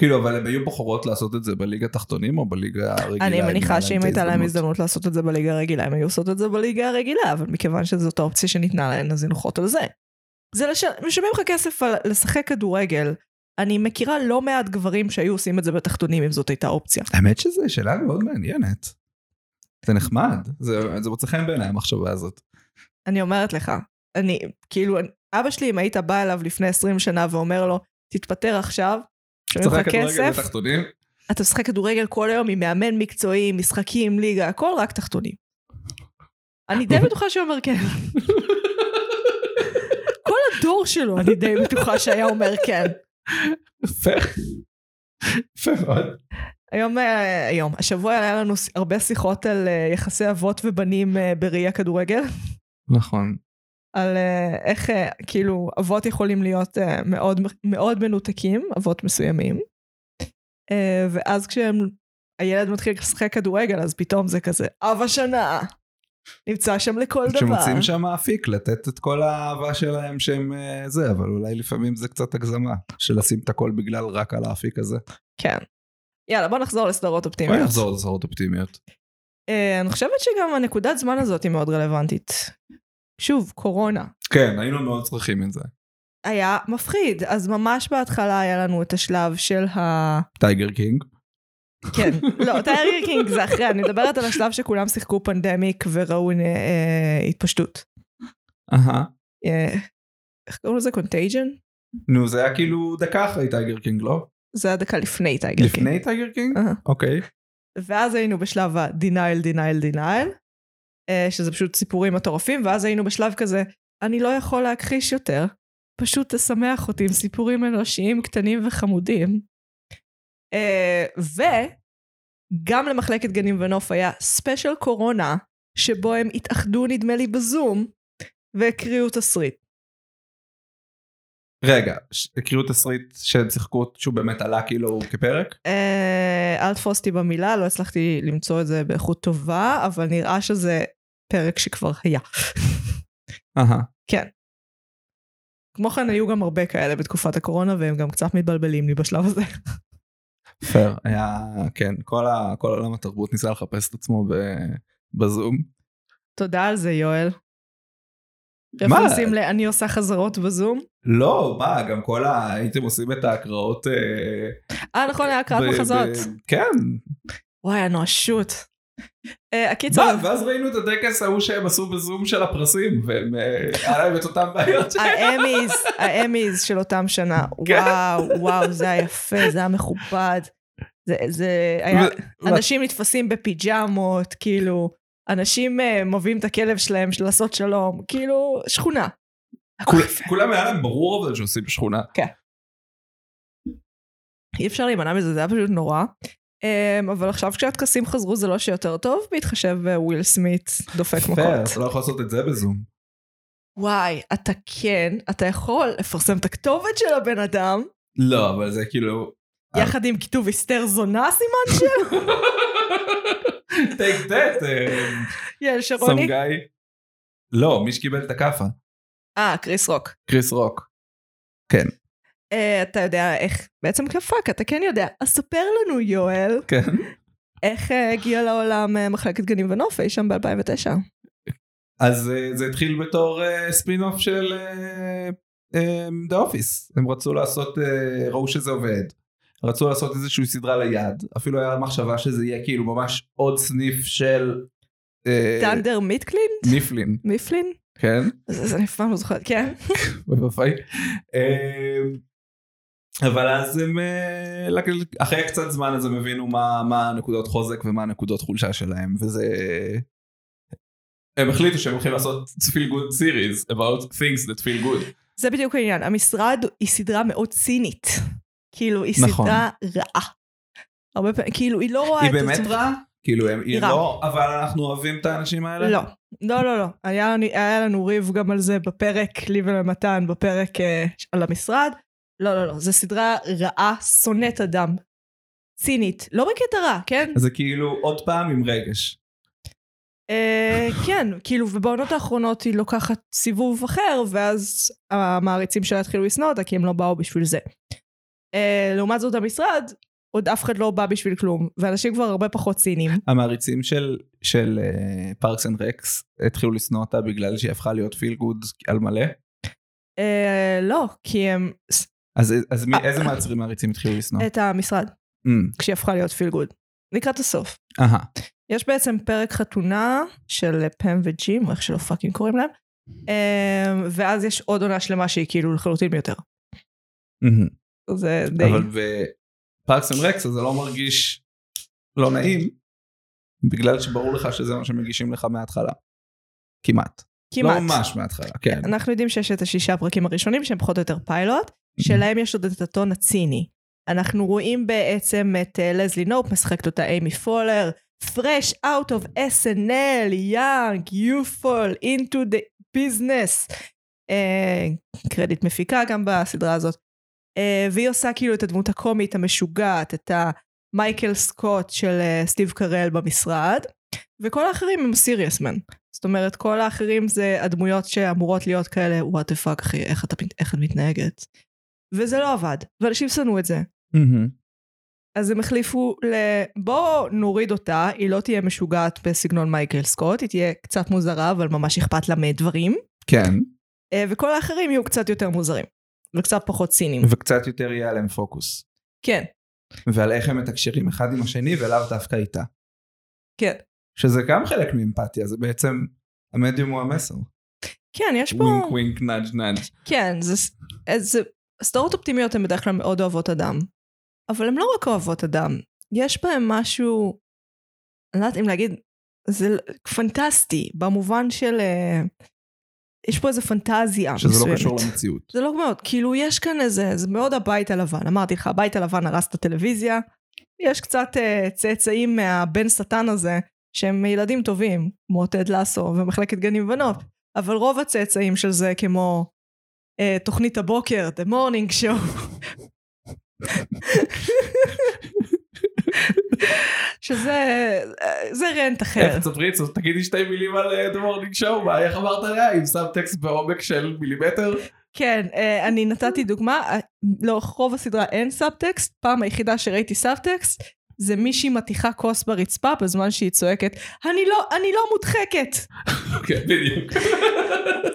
Speaker 2: כאילו אבל הם היו בוחרות לעשות את זה בליגה התחתונים או בליגה הרגילה.
Speaker 1: אני
Speaker 2: אם היה
Speaker 1: מניחה
Speaker 2: את
Speaker 1: שאם הייתה להם
Speaker 2: ההזדמנות.
Speaker 1: הזדמנות לעשות את זה בליגה הרגילה, הם היו עושות את זה בליגה הרגילה, אבל מכיוון שזאת האופציה שניתנה להן, אז הן הולכות על זה. זה לש... משלמים לך כסף על לשחק כדורגל. אני מכירה לא מעט גברים שהיו עושים את זה בתחתונים אם זאת הייתה אופציה.
Speaker 2: האמת שזו שאלה מאוד מעניינת. זה נחמד, זה זה מוצא חן בעיניי המחשבה הזאת.
Speaker 1: אני אומרת לך, אני, כאילו, אני- אבא שלי, אם היית בא אליו לפני 20 שנה ואומר לו, תתפטר עכשיו, שמים
Speaker 2: צריך
Speaker 1: לך
Speaker 2: כדורגל
Speaker 1: כסף,
Speaker 2: בתחתונים?
Speaker 1: אתה משחק כדורגל כל היום עם מאמן מקצועי, משחקים, ליגה, הכל רק תחתונים. אני די בטוחה שהוא אומר כן. כל הדור שלו, אני די בטוחה שהיה אומר כן.
Speaker 2: יפה. יפה מאוד.
Speaker 1: היום, אה, היום, השבוע היה לנו ס- הרבה שיחות על אה, יחסי אבות ובנים אה, בראי הכדורגל.
Speaker 2: נכון.
Speaker 1: על אה, איך אה, כאילו אבות יכולים להיות אה, מאוד מאוד מנותקים, אבות מסוימים, אה, ואז כשהם הילד מתחיל לשחק כדורגל, אז פתאום זה כזה, אב השנה. נמצא שם לכל דבר.
Speaker 2: שמוצאים שם אפיק לתת את כל האהבה שלהם שהם אה, זה, אבל אולי לפעמים זה קצת הגזמה, של לשים את הכל בגלל רק על האפיק הזה.
Speaker 1: כן. יאללה, בוא נחזור לסדרות אופטימיות.
Speaker 2: בואי נחזור לסדרות אופטימיות.
Speaker 1: אה, אני חושבת שגם הנקודת זמן הזאת היא מאוד רלוונטית. שוב, קורונה.
Speaker 2: כן, היינו מאוד צריכים את זה.
Speaker 1: היה מפחיד, אז ממש בהתחלה היה לנו את השלב של ה...
Speaker 2: טייגר קינג.
Speaker 1: כן, לא, טייר קינג זה אחרי, אני מדברת על השלב שכולם שיחקו פנדמיק וראו אה, אה, התפשטות.
Speaker 2: אהה.
Speaker 1: אה, איך קוראים לזה? קונטייג'ן?
Speaker 2: נו, זה היה כאילו דקה אחרי טייגר קינג, לא?
Speaker 1: זה היה דקה לפני טייגר קינג.
Speaker 2: לפני טייגר קינג?
Speaker 1: אהה.
Speaker 2: אוקיי.
Speaker 1: ואז היינו בשלב ה-denial, denial, denial, אה, שזה פשוט סיפורים מטורפים, ואז היינו בשלב כזה, אני לא יכול להכחיש יותר, פשוט תשמח אותי עם סיפורים אנושיים קטנים וחמודים. אה, וגם למחלקת גנים ונוף היה ספיישל קורונה, שבו הם התאחדו, נדמה לי, בזום, והקריאו תסריט.
Speaker 2: רגע, ש- הקריאו תסריט שהם שיחקו שהוא באמת עלה כאילו כפרק?
Speaker 1: אה, אל תפוס אותי במילה, לא הצלחתי למצוא את זה באיכות טובה, אבל נראה שזה פרק שכבר היה.
Speaker 2: אהה.
Speaker 1: כמו כן היו גם הרבה כאלה בתקופת הקורונה והם גם קצת מתבלבלים לי בשלב הזה.
Speaker 2: פייר. היה, כן, כל ה- כל עולם התרבות ניסה לחפש את עצמו ב- בזום.
Speaker 1: תודה על זה יואל.
Speaker 2: מה?
Speaker 1: רפרנסים ל"אני עושה חזרות בזום".
Speaker 2: לא, מה, גם כל ה... הייתם עושים את ההקראות... אה,
Speaker 1: אה נכון, היה הקראת
Speaker 2: ב-
Speaker 1: מחזות.
Speaker 2: ב- כן.
Speaker 1: וואי, הנואשות. אה, הקיצר,
Speaker 2: מה, ואז ראינו את הטקס ההוא שהם עשו בזום של הפרסים, והם... אה, היה להם את אותן בעיות
Speaker 1: אה.
Speaker 2: שלהם.
Speaker 1: האמיז, האמיז של אותם שנה.
Speaker 2: כן.
Speaker 1: וואו, וואו, זה היה יפה, זה היה מכובד. זה- זה היה...
Speaker 2: ו-
Speaker 1: אנשים נתפסים בפיג'מות, כאילו, אנשים אה, מביאים את הכלב שלהם לעשות שלום, כאילו, שכונה. הכל
Speaker 2: כול-
Speaker 1: יפה.
Speaker 2: כולם היה להם ברור אבל שעושים שכונה.
Speaker 1: אי אפשר להימנע מזה, זה היה פשוט נורא. אמ, אבל עכשיו כשהטקסים חזרו זה לא שיותר טוב, בהתחשב בוויל סמית דופק
Speaker 2: אתה
Speaker 1: מכות.
Speaker 2: לא יכול לעשות את זה בזום.
Speaker 1: וואי, אתה כן, אתה יכול לפרסם את הכתובת של הבן אדם,
Speaker 2: לא, אבל זה כאילו...
Speaker 1: יחד עם כיתוב היסטר זונה סימן של
Speaker 2: take that,
Speaker 1: יעל
Speaker 2: סם
Speaker 1: שרוני.
Speaker 2: גיא. לא, מי שקיבל את הכאפה.
Speaker 1: אה, קריס רוק.
Speaker 2: קריס רוק.
Speaker 1: אה, אתה יודע איך, בעצם כפאק, אתה כן יודע. אז ספר לנו, יואל,
Speaker 2: כן.
Speaker 1: איך אה, הגיעה לעולם אה, מחלקת גנים ונוף אי שם ב-2009.
Speaker 2: אז אה, זה התחיל בתור אה, ספין-אוף של אה, אה, The Office. הם רצו לעשות, אה, ראו שזה עובד. רצו לעשות איזושהי סדרה ליד. אפילו היה מחשבה שזה יהיה כאילו ממש עוד סניף של... אה,
Speaker 1: טנדר מיטקלין?
Speaker 2: מיפלין,
Speaker 1: מיפלין?
Speaker 2: כן?
Speaker 1: אז אז אני אף פעם לא זוכרת, כן.
Speaker 2: אוי ואבוי. אה, אמ, אבל אז הם אה, לק- אחרי קצת זמן אז הם הבינו מה, מה הנקודות חוזק ומה הנקודות חולשה שלהם וזה הם החליטו שהם הולכים לעשות feel good series about things that feel good.
Speaker 1: זה בדיוק העניין. המשרד היא סדרה מאוד צינית. כאילו, היא
Speaker 2: נכון.
Speaker 1: סדרה רעה. הרבה פעמים, כאילו, היא לא רואה
Speaker 2: היא
Speaker 1: את...
Speaker 2: באמת רעה? כאילו הם, היא
Speaker 1: רעה.
Speaker 2: לא אבל אנחנו אוהבים את האנשים האלה?
Speaker 1: לא. לא, לא, לא. היה, היה לנו ריב גם על זה בפרק, לי ולמתן, בפרק אה, על המשרד. לא, לא, לא. זו סדרה רעה, שונאת אדם. צינית. לא בקטע רע, כן?
Speaker 2: אז זה כאילו עוד פעם עם רגש.
Speaker 1: אה, כן, כאילו, ובעונות האחרונות היא לוקחת סיבוב אחר, ואז המעריצים שלה התחילו לשנוא אותה, כי הם לא באו בשביל זה. אה, לעומת זאת, המשרד, עוד אף אחד לא בא בשביל כלום, ואנשים כבר הרבה פחות ציניים.
Speaker 2: המעריצים של, של אה, פארקס אנד רקס התחילו לשנוא אותה בגלל שהיא הפכה להיות feel good על מלא.
Speaker 1: אה, לא, כי הם... ס-
Speaker 2: אז, אז
Speaker 1: אה,
Speaker 2: מי, איזה מעצרים מעריצים התחילו לשנוא?
Speaker 1: את המשרד,
Speaker 2: אמ,
Speaker 1: כשהיא הפכה להיות פיל גוד. לקראת הסוף.
Speaker 2: אהה.
Speaker 1: יש בעצם פרק חתונה של פם וג'ים, או איך שלא פאקינג קוראים להם, אה, ואז יש עוד עונה שלמה שהיא כאילו לחלוטין מיותר.
Speaker 2: אמ.
Speaker 1: זה די...
Speaker 2: אבל לא בפארקס אנד רקס זה לא מרגיש לא נעים בגלל שברור לך שזה מה שמגישים לך מההתחלה. כמעט.
Speaker 1: כמעט.
Speaker 2: לא ממש מההתחלה, כן.
Speaker 1: אנחנו יודעים שיש את השישה הפרקים הראשונים שהם פחות או יותר פיילוט, שלהם יש עוד את הטון הציני. אנחנו רואים בעצם את אה, לזלי נופ משחקת אותה אימי פולר, fresh out of SNL, young, youthful, into the business. אה, קרדיט מפיקה גם בסדרה הזאת. אה, והיא עושה כאילו את הדמות הקומית המשוגעת, את מייקל סקוט של אה, סטיב קרל במשרד, וכל האחרים הם סיריוס מן. זאת אומרת, כל האחרים זה הדמויות שאמורות להיות כאלה, וואט דה פאק אחי, איך, אתה, מת- איך את מתנהגת? וזה לא עבד, ואנשים שנאו את זה.
Speaker 2: אמ,
Speaker 1: אז הם החליפו ל... בואו נוריד אותה, היא לא תהיה משוגעת בסגנון מייקל סקוט, היא תהיה קצת מוזרה, אבל ממש אכפת לה מדברים.
Speaker 2: כן,
Speaker 1: אה, וכל האחרים יהיו קצת יותר מוזרים, וקצת פחות ציניים.
Speaker 2: וקצת יותר יהיה עליהם פוקוס.
Speaker 1: כן,
Speaker 2: ועל איך הם מתקשרים אחד עם השני ולאו דווקא איתה.
Speaker 1: כן.
Speaker 2: שזה גם חלק מאמפתיה, זה בעצם, המדיום הוא המסר.
Speaker 1: כן, יש פה...
Speaker 2: ווינק ווינק נאג' נאג'.
Speaker 1: כן, זה... אז סדרות אופטימיות הן בדרך כלל מאוד אוהבות אדם. אבל הן לא רק אוהבות אדם, יש בהן משהו, אני לא יודעת אם להגיד, זה פנטסטי, במובן של... אה, יש פה איזו פנטזיה
Speaker 2: שזה לא
Speaker 1: מסוימת.
Speaker 2: קשור למציאות.
Speaker 1: זה לא מאוד, כאילו יש כאן איזה, זה מאוד הבית הלבן, אמרתי לך, הבית הלבן הרס את הטלוויזיה, יש קצת uh, צאצאים מהבן שטן הזה, שהם ילדים טובים, כמו טד לסו ומחלקת גנים ובנות, אבל רוב הצאצאים של זה כמו uh, תוכנית הבוקר, The Morning Show. שזה, אה, זה רנט אחר.
Speaker 2: איך תספרי את זה, תגידי שתי מילים על אה, The Morning Show, מה, איך אמרת עליה? עם סאב טקסט בעומק של מילימטר?
Speaker 1: כן, אה, אני נתתי דוגמה, אה, לא, רוב הסדרה אין סאבטקסט, פעם היחידה שראיתי סאבטקסט, זה מישהי מתיחה כוס ברצפה בזמן שהיא צועקת, אני לא, אני לא מודחקת!
Speaker 2: כן, בדיוק.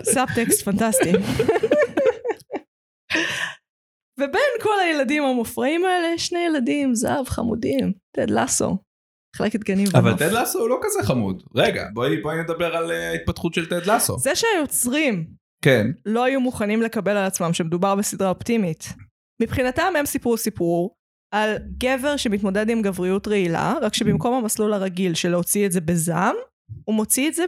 Speaker 1: סאבטקסט פנטסטי. ובין כל הילדים המופרעים האלה, יש שני ילדים, זהב חמודים, טד לסו, מחלקת גנים
Speaker 2: אבל
Speaker 1: ונוף.
Speaker 2: טד לאסו הוא לא כזה חמוד. רגע, בואי בואי נדבר על אה, ההתפתחות של טד לאסו.
Speaker 1: זה שהיוצרים
Speaker 2: כן.
Speaker 1: לא היו מוכנים לקבל על עצמם שמדובר בסדרה אופטימית. מבחינתם הם סיפרו סיפור על גבר שמתמודד עם גבריות רעילה, רק שבמקום המסלול הרגיל של להוציא את זה בזעם, הוא מוציא את זה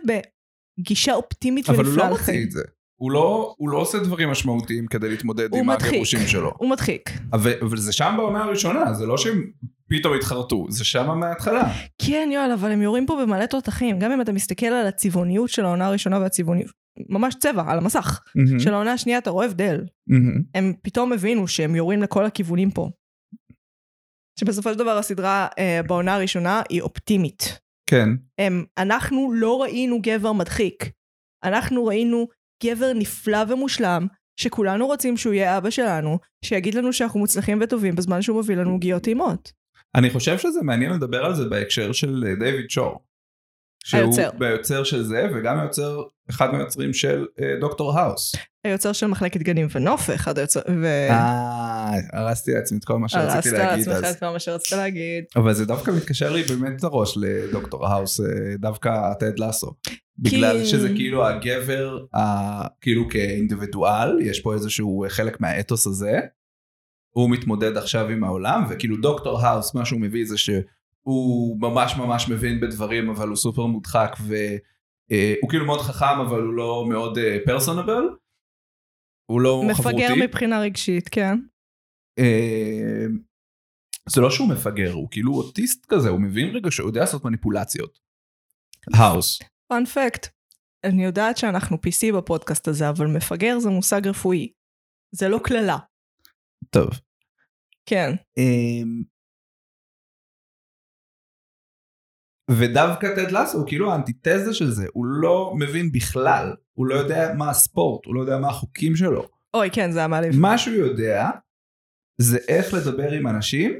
Speaker 1: בגישה אופטימית
Speaker 2: אבל הוא
Speaker 1: ונפלאה
Speaker 2: לא
Speaker 1: לחיים.
Speaker 2: מוציא את זה. הוא לא, הוא לא עושה דברים משמעותיים כדי להתמודד
Speaker 1: הוא
Speaker 2: עם
Speaker 1: מדחיק.
Speaker 2: הגירושים שלו.
Speaker 1: הוא מדחיק.
Speaker 2: אבל, אבל זה שם בעונה הראשונה, זה לא שהם פתאום התחרטו, זה שם מההתחלה.
Speaker 1: כן, יואל, אבל הם יורים פה במלא תותחים. גם אם אתה מסתכל על הצבעוניות של העונה הראשונה והצבעוניות, ממש צבע, על המסך. של העונה השנייה אתה רואה הבדל. הם פתאום הבינו שהם יורים לכל הכיוונים פה. שבסופו של דבר הסדרה אה, בעונה הראשונה היא אופטימית.
Speaker 2: כן.
Speaker 1: הם, אנחנו לא ראינו גבר מדחיק. אנחנו ראינו גבר נפלא ומושלם, שכולנו רוצים שהוא יהיה אבא שלנו, שיגיד לנו שאנחנו מוצלחים וטובים בזמן שהוא מביא לנו עוגיות טעימות.
Speaker 2: אני חושב שזה מעניין לדבר על זה בהקשר של אה, דיוויד שור.
Speaker 1: היוצר.
Speaker 2: ביוצר של זה, וגם היוצר, אחד מהיוצרים של אה, דוקטור האוס.
Speaker 1: היוצר של מחלקת גנים ונוף, אחד היוצר... ו...
Speaker 2: אה, הרסתי לעצמי את כל מה שרציתי
Speaker 1: הרסת
Speaker 2: להגיד
Speaker 1: לעצמך
Speaker 2: אז.
Speaker 1: את מה שרצית להגיד.
Speaker 2: אבל זה דווקא מתקשר לי באמת לראש לדוקטור האוס, אה, דווקא טד לאסו. בגלל
Speaker 1: כי-
Speaker 2: שזה כאילו הגבר, ה- כאילו כאינדיבידואל, יש פה איזשהו אה, חלק מהאתוס הזה. הוא מתמודד עכשיו עם העולם, וכאילו דוקטור האוס, מה שהוא מביא זה שהוא ממש ממש מבין בדברים, אבל הוא סופר מודחק, והוא כאילו מאוד חכם, אבל הוא לא מאוד פרסונבל. הוא לא חברותי.
Speaker 1: מפגר מבחינה רגשית, כן.
Speaker 2: אה, זה לא שהוא מפגר, הוא כאילו אוטיסט כזה, הוא מבין רגע שהוא יודע לעשות מניפולציות. האוס.
Speaker 1: פאנ פקט, אני יודעת שאנחנו PC בפודקאסט הזה, אבל מפגר זה מושג רפואי. זה לא קללה.
Speaker 2: טוב.
Speaker 1: כן.
Speaker 2: אמ, ודווקא טד לסו הוא כאילו האנטיתזה של זה, הוא לא מבין בכלל, הוא לא יודע מה הספורט, הוא לא יודע מה החוקים שלו.
Speaker 1: אוי, כן, זה היה מעליב.
Speaker 2: מה שהוא יודע זה איך לדבר עם אנשים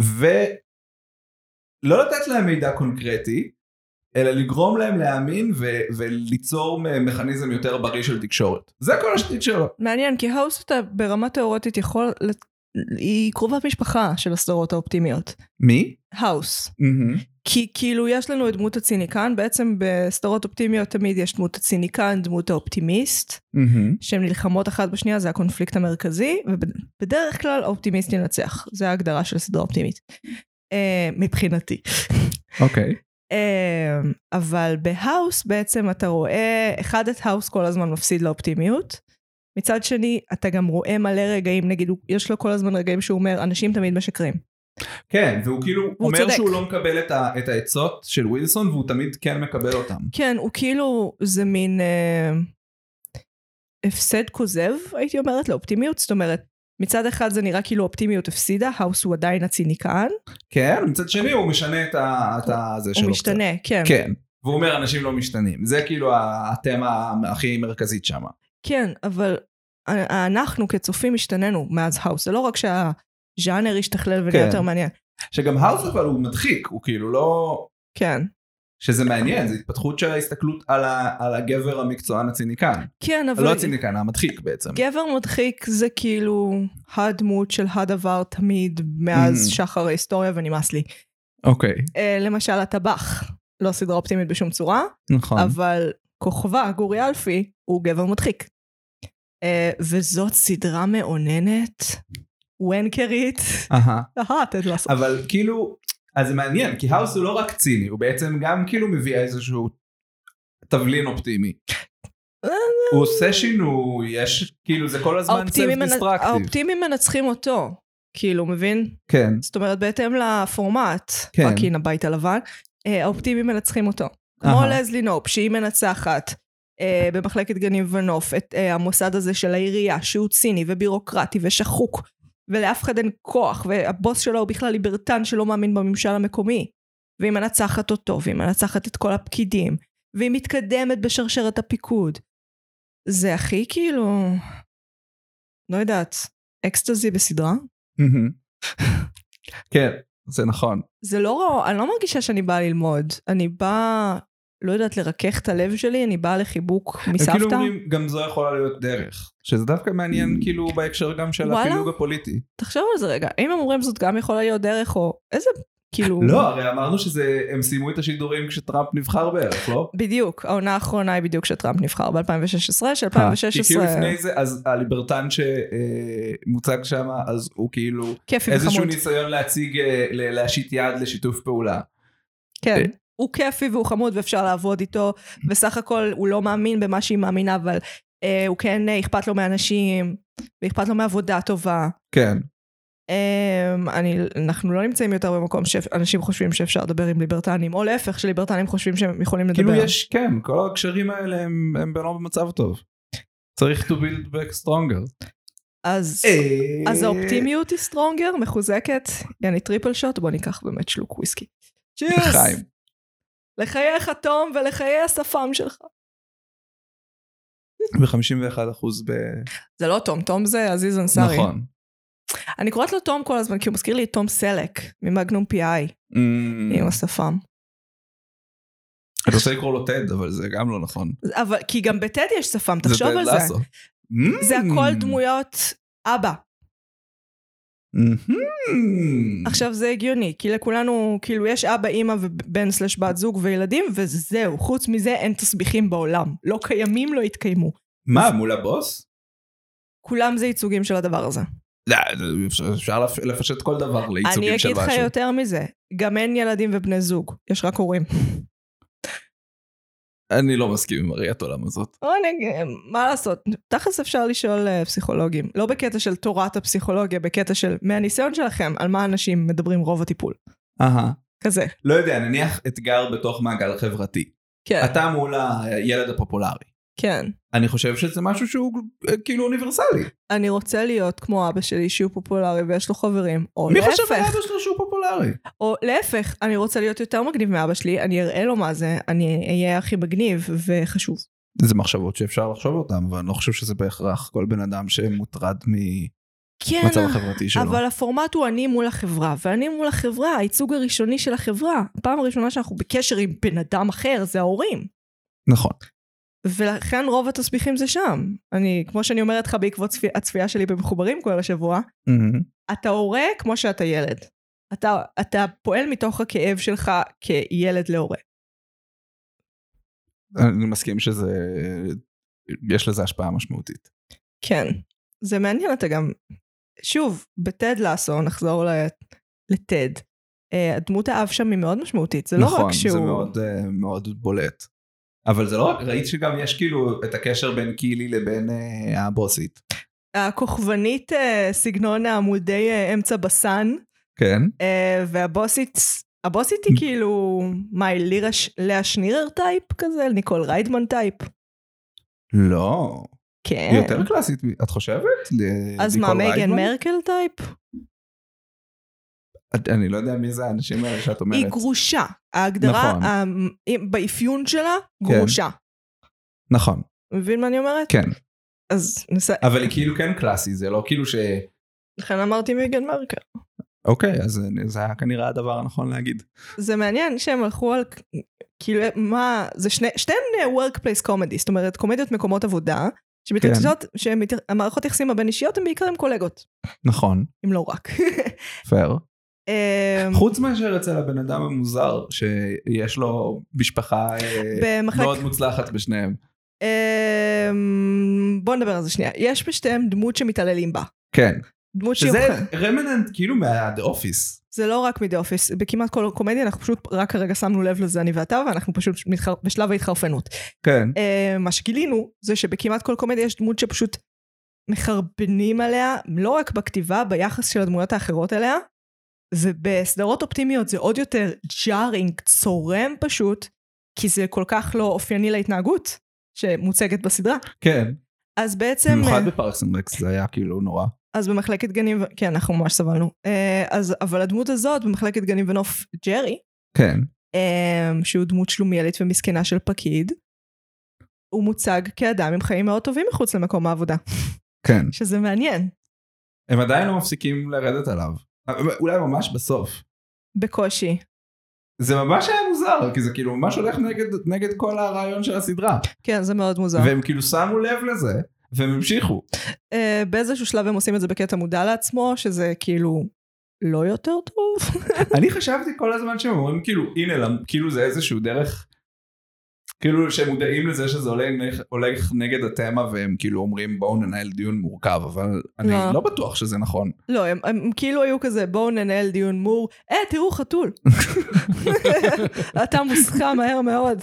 Speaker 2: ולא לא לתת להם מידע קונקרטי, אלא לגרום להם להאמין ו- וליצור מכניזם יותר בריא של תקשורת. זה כל השטית שלו.
Speaker 1: מעניין, כי האוס אתה ברמה תיאורטית יכול... לת- היא קרובת משפחה של הסדרות האופטימיות.
Speaker 2: מי?
Speaker 1: האוס. כי כאילו יש לנו את דמות הציניקן, בעצם בסדרות אופטימיות תמיד יש דמות הציניקן, דמות האופטימיסט. שהן נלחמות אחת בשנייה, זה הקונפליקט המרכזי, ובדרך כלל האופטימיסט ינצח. זו ההגדרה של סדרה אופטימית. אה, מבחינתי.
Speaker 2: אוקיי.
Speaker 1: אה, אבל בהאוס בעצם אתה רואה, אחד את האוס כל הזמן מפסיד לאופטימיות. מצד שני, אתה גם רואה מלא רגעים, נגיד, הוא- יש לו כל הזמן רגעים שהוא אומר, אנשים תמיד משקרים.
Speaker 2: כן, והוא כאילו אומר
Speaker 1: צודק.
Speaker 2: שהוא לא מקבל את, ה- את העצות של ווילסון והוא תמיד כן מקבל אותם.
Speaker 1: כן, הוא כאילו, זה אמ, מין אה, הפסד כוזב, הייתי אומרת, לאופטימיות. זאת אומרת, מצד אחד זה נראה כאילו אופטימיות הפסידה, האוס הוא עדיין הציניקן,
Speaker 2: כן, מצד שני הוא משנה את ה... את ה- זה שלו
Speaker 1: הוא משתנה, כן.
Speaker 2: קצת. כן. והוא אומר אנשים לא משתנים. זה כאילו ה- התמה הכי מרכזית שם.
Speaker 1: כן, אבל ה- אנחנו כצופים השתננו מאז האוס, זה לא רק שהז'אנר השתכלל ונהיה
Speaker 2: כן.
Speaker 1: יותר מעניין.
Speaker 2: שגם האוס אבל הוא מדחיק, הוא כאילו לא...
Speaker 1: כן.
Speaker 2: שזה מעניין, זו התפתחות של ההסתכלות על, ה, על הגבר המקצוען הציניקן.
Speaker 1: כן, אבל... כן.
Speaker 2: לא הציניקן, המדחיק בעצם.
Speaker 1: גבר מדחיק זה כאילו הדמות של הדבר תמיד מאז
Speaker 2: Mm.
Speaker 1: שחר ההיסטוריה ונמאס לי.
Speaker 2: אוקיי,
Speaker 1: אה, למשל הטבח, לא סדרה אופטימית בשום צורה,
Speaker 2: נכון.
Speaker 1: אבל כוכבה, גורי אלפי, הוא גבר מדחיק. אה, וזאת סדרה מאוננת, ונקרית,
Speaker 2: אהה.
Speaker 1: אהה, תת לעשות.
Speaker 2: אבל כאילו, אז זה מעניין, כי האוס הוא לא רק ציני, הוא בעצם גם כאילו מביא איזשהו תבלין אופטימי.
Speaker 1: אה,
Speaker 2: הוא עושה שינוי, יש, כאילו זה כל הזמן
Speaker 1: האופטימים מנ-
Speaker 2: self-destructive.
Speaker 1: האופטימים מנצחים אותו, כאילו, מבין?
Speaker 2: כן,
Speaker 1: זאת אומרת, בהתאם לפורמט,
Speaker 2: כן.
Speaker 1: פאקינג הבית הלבן, אה, האופטימים מנצחים אותו. כמו
Speaker 2: אהה.
Speaker 1: לזלי נופ, שהיא מנצחת אה, במחלקת גנים ונוף, את אה, המוסד הזה של העירייה, שהוא ציני ובירוקרטי ושחוק, ולאף אחד אין כוח, והבוס שלו הוא בכלל ליברטן שלא מאמין בממשל המקומי. והיא מנצחת אותו, והיא מנצחת את כל הפקידים, והיא מתקדמת בשרשרת הפיקוד. זה הכי כאילו... לא יודעת, אקסטזי בסדרה?
Speaker 2: מהמם. כן, זה נכון.
Speaker 1: זה לא, אני לא מרגישה שאני באה ללמוד, אני באה, לא יודעת, לרכך את הלב שלי, אני באה לחיבוק
Speaker 2: הם כאילו
Speaker 1: מסבתא.
Speaker 2: אומרים, גם זו יכולה להיות דרך. שזה דווקא מעניין כאילו בהקשר גם של
Speaker 1: וואלה?
Speaker 2: הפילוג הפוליטי.
Speaker 1: תחשוב על זה רגע, אם הם אומרים זאת גם יכולה להיות דרך, או איזה, כאילו...
Speaker 2: לא, הרי אמרנו שהם סיימו את השידורים כשטראמפ נבחר בערך, לא?
Speaker 1: בדיוק, העונה האחרונה היא בדיוק כשטראמפ נבחר ב-2016, של
Speaker 2: כי כאילו
Speaker 1: 2016,
Speaker 2: לפני זה, אז הליברטן שמוצג שם, אז הוא כאילו
Speaker 1: כיפי
Speaker 2: איזשהו
Speaker 1: וחמוד.
Speaker 2: ניסיון להציג, אה, ל- להושיט יד לשיתוף פעולה.
Speaker 1: כן.
Speaker 2: אה.
Speaker 1: הוא כיפי והוא חמוד ואפשר לעבוד איתו, וסך הכל הוא לא מאמין במה שהיא מאמינה, אבל אה, הוא כן אה, אכפת לו מאנשים, ואכפת לו מעבודה טובה.
Speaker 2: כן.
Speaker 1: Um, אני, אנחנו לא נמצאים יותר במקום שאנשים חושבים שאפשר לדבר עם ליברטנים, או להפך שליברטנים חושבים שהם יכולים לדבר.
Speaker 2: כאילו יש, כן, כל הקשרים האלה הם הם לא במצב טוב. צריך to build back stronger.
Speaker 1: אז,
Speaker 2: אה,
Speaker 1: אז האופטימיות היא סטרונגר, מחוזקת. יעני טריפל שוט, בוא ניקח באמת שלוק וויסקי. צ'ירס!
Speaker 2: חיים.
Speaker 1: לחיי החתום ולחיי השפם שלך.
Speaker 2: ב-51 אחוז ב...
Speaker 1: זה לא תום, תום זה עזיז אנסארי.
Speaker 2: נכון.
Speaker 1: אני קוראת לו תום כל הזמן, כי הוא מזכיר לי את תום סלק, ממגנום פי.איי,
Speaker 2: Mm,
Speaker 1: עם השפם.
Speaker 2: אני רוצה לקרוא לו טד, אבל זה גם לא נכון.
Speaker 1: אבל, כי גם בטד יש שפם,
Speaker 2: זה
Speaker 1: תחשוב
Speaker 2: טד
Speaker 1: על זה.
Speaker 2: לסו. Mm.
Speaker 1: זה הכל דמויות אבא.
Speaker 2: Mhm.
Speaker 1: עכשיו זה הגיוני, כי לכולנו, כאילו יש אבא, אימא ובן סלש בת זוג וילדים, וזהו. חוץ מזה אין תסביכים בעולם. לא קיימים, לא יתקיימו.
Speaker 2: מה, מול הבוס?
Speaker 1: כולם זה ייצוגים של הדבר הזה.
Speaker 2: לא, אפשר- אפשר לפ- לפשט כל דבר
Speaker 1: אני
Speaker 2: לייצוגים של
Speaker 1: אגיד לך
Speaker 2: משהו.
Speaker 1: יותר מזה, גם אין ילדים ובני זוג, יש רק הורים.
Speaker 2: אני לא מסכים עם הראיית העולם הזאת.
Speaker 1: או, אני- מה לעשות, תכלס אפשר לשאול אה, פסיכולוגים, לא בקטע של תורת הפסיכולוגיה, בקטע של מהניסיון שלכם, על מה אנשים מדברים רוב הטיפול.
Speaker 2: אהה.
Speaker 1: כזה.
Speaker 2: לא יודע, נניח אתגר בתוך מעגל חברתי.
Speaker 1: כן,
Speaker 2: אתה מול הילד הפופולרי.
Speaker 1: כן.
Speaker 2: אני חושב שזה משהו שהוא אה, כאילו אוניברסלי.
Speaker 1: אני רוצה להיות כמו אבא שלי, שהוא פופולרי ויש לו חברים, או
Speaker 2: מי
Speaker 1: להפך.
Speaker 2: חושב על אבא שלו שהוא פופולרי?
Speaker 1: או להפך, אני רוצה להיות יותר מגניב מאבא שלי, אני אראה לו מה זה, אני אהיה הכי מגניב וחשוב.
Speaker 2: זה מחשבות שאפשר לחשוב אותן, אבל אני לא חושב שזה בהכרח כל בן אדם שמוטרד ממצב
Speaker 1: כן,
Speaker 2: החברתי שלו.
Speaker 1: אבל הפורמט הוא אני מול החברה, ואני מול החברה, הייצוג הראשוני של החברה. הפעם הראשונה שאנחנו בקשר עם בן אדם אחר זה ההורים.
Speaker 2: נכון.
Speaker 1: ולכן רוב התסביכים זה שם. אני, כמו שאני אומרת לך בעקבות צפי, הצפייה שלי במחוברים כל השבוע,
Speaker 2: Mhm.
Speaker 1: אתה הורה כמו שאתה ילד. אתה, אתה פועל מתוך הכאב שלך כילד להורה.
Speaker 2: אני מסכים שזה... יש לזה השפעה משמעותית.
Speaker 1: כן. זה מעניין, אתה גם... שוב, בטד לאסו, נחזור ל- לטד. אה, הדמות האב שם היא מאוד משמעותית, זה לא
Speaker 2: נכון,
Speaker 1: רק שהוא...
Speaker 2: זה מאוד, אה, מאוד בולט. אבל זה לא רק, ראית שגם יש כאילו את הקשר בין קילי לבין אה, הבוסית.
Speaker 1: הכוכבנית אה, סגנון העמודי אה, אמצע בסן,
Speaker 2: כן.
Speaker 1: אה, והבוסית, הבוסית היא כאילו, מה, היא לירה ש- לאה שנירר טייפ כזה? ניקול ריידמן טייפ?
Speaker 2: לא.
Speaker 1: כן.
Speaker 2: היא יותר קלאסית, מ- את חושבת? ל-
Speaker 1: אז מה,
Speaker 2: ניקול
Speaker 1: מייגן
Speaker 2: ריידמן?
Speaker 1: מרקל טייפ?
Speaker 2: את- אני לא יודע מי זה האנשים האלה שאת אומרת.
Speaker 1: היא גרושה. ההגדרה,
Speaker 2: נכון.
Speaker 1: ה- באפיון שלה,
Speaker 2: כן.
Speaker 1: גרושה.
Speaker 2: נכון,
Speaker 1: מבין מה אני אומרת?
Speaker 2: כן.
Speaker 1: אז נסיים.
Speaker 2: אבל היא כאילו כן קלאסי, זה לא כאילו ש...
Speaker 1: לכן אמרתי מייגן מרקל.
Speaker 2: אוקיי, אז זה היה כנראה הדבר הנכון להגיד.
Speaker 1: זה מעניין שהם הלכו על... כאילו, מה... זה שני... שתיהן אה, workplace comedy, זאת אומרת, קומדיות מקומות עבודה, שמתרחשות... שהמערכות יחסים הבין אישיות הן בעיקר עם קולגות,
Speaker 2: נכון,
Speaker 1: אם לא רק.
Speaker 2: פייר.
Speaker 1: אמ,
Speaker 2: חוץ מאשר אצל הבן אדם המוזר, שיש לו משפחה אה,
Speaker 1: במחלק-
Speaker 2: מאוד מוצלחת בשניהם.
Speaker 1: אמ, בוא נדבר על זה שנייה. יש בשתיהם דמות שמתעללים בה.
Speaker 2: כן.
Speaker 1: דמות שהיא...
Speaker 2: שזה רמננט כאילו מה-The Office.
Speaker 1: זה לא רק מדה אופיס, בכמעט כל קומדיה אנחנו פשוט רק כרגע שמנו לב לזה אני ואתה ואנחנו פשוט מתחר... בשלב ההתחרפנות.
Speaker 2: כן.
Speaker 1: Uh, מה שגילינו זה שבכמעט כל קומדיה יש דמות שפשוט מחרבנים עליה, לא רק בכתיבה, ביחס של הדמויות האחרות אליה, ובסדרות אופטימיות זה עוד יותר ג'ארינג, צורם פשוט, כי זה כל כך לא אופייני להתנהגות שמוצגת בסדרה.
Speaker 2: כן.
Speaker 1: אז בעצם... אה,
Speaker 2: במיוחד בפארקס אנד רקס זה היה כאילו נורא.
Speaker 1: אז במחלקת גנים, ו- כן, אנחנו ממש סבלנו. אה, אז, אבל הדמות הזאת, במחלקת גנים ונוף ג'רי,
Speaker 2: כן.
Speaker 1: אמ, שהוא דמות שלומיאלית ומסכנה של פקיד, הוא מוצג כאדם עם חיים מאוד טובים מחוץ למקום העבודה,
Speaker 2: כן.
Speaker 1: שזה מעניין.
Speaker 2: הם עדיין לא מפסיקים לרדת עליו. אולי ממש בסוף.
Speaker 1: בקושי.
Speaker 2: זה ממש היה מוזר, כי זה כאילו ממש הולך נגד, נגד כל הרעיון של הסדרה.
Speaker 1: כן, זה מאוד מוזר. ו...
Speaker 2: והם כאילו שמו לב לזה, והם המשיכו.
Speaker 1: Uh, באיזשהו שלב הם עושים את זה בקטע מודע לעצמו, שזה כאילו לא יותר טוב.
Speaker 2: אני חשבתי כל הזמן שהם אומרים כאילו, הנה, למ- כאילו זה איזשהו דרך, כאילו שהם מודעים לזה שזה הולך, הולך נגד התמה, והם כאילו אומרים בואו ננהל דיון מורכב, אבל אני
Speaker 1: לא.
Speaker 2: לא, בטוח שזה נכון.
Speaker 1: לא, הם, הם כאילו היו כזה, בואו ננהל דיון מור, אה, תראו חתול. אתה מוסכם מהר מאוד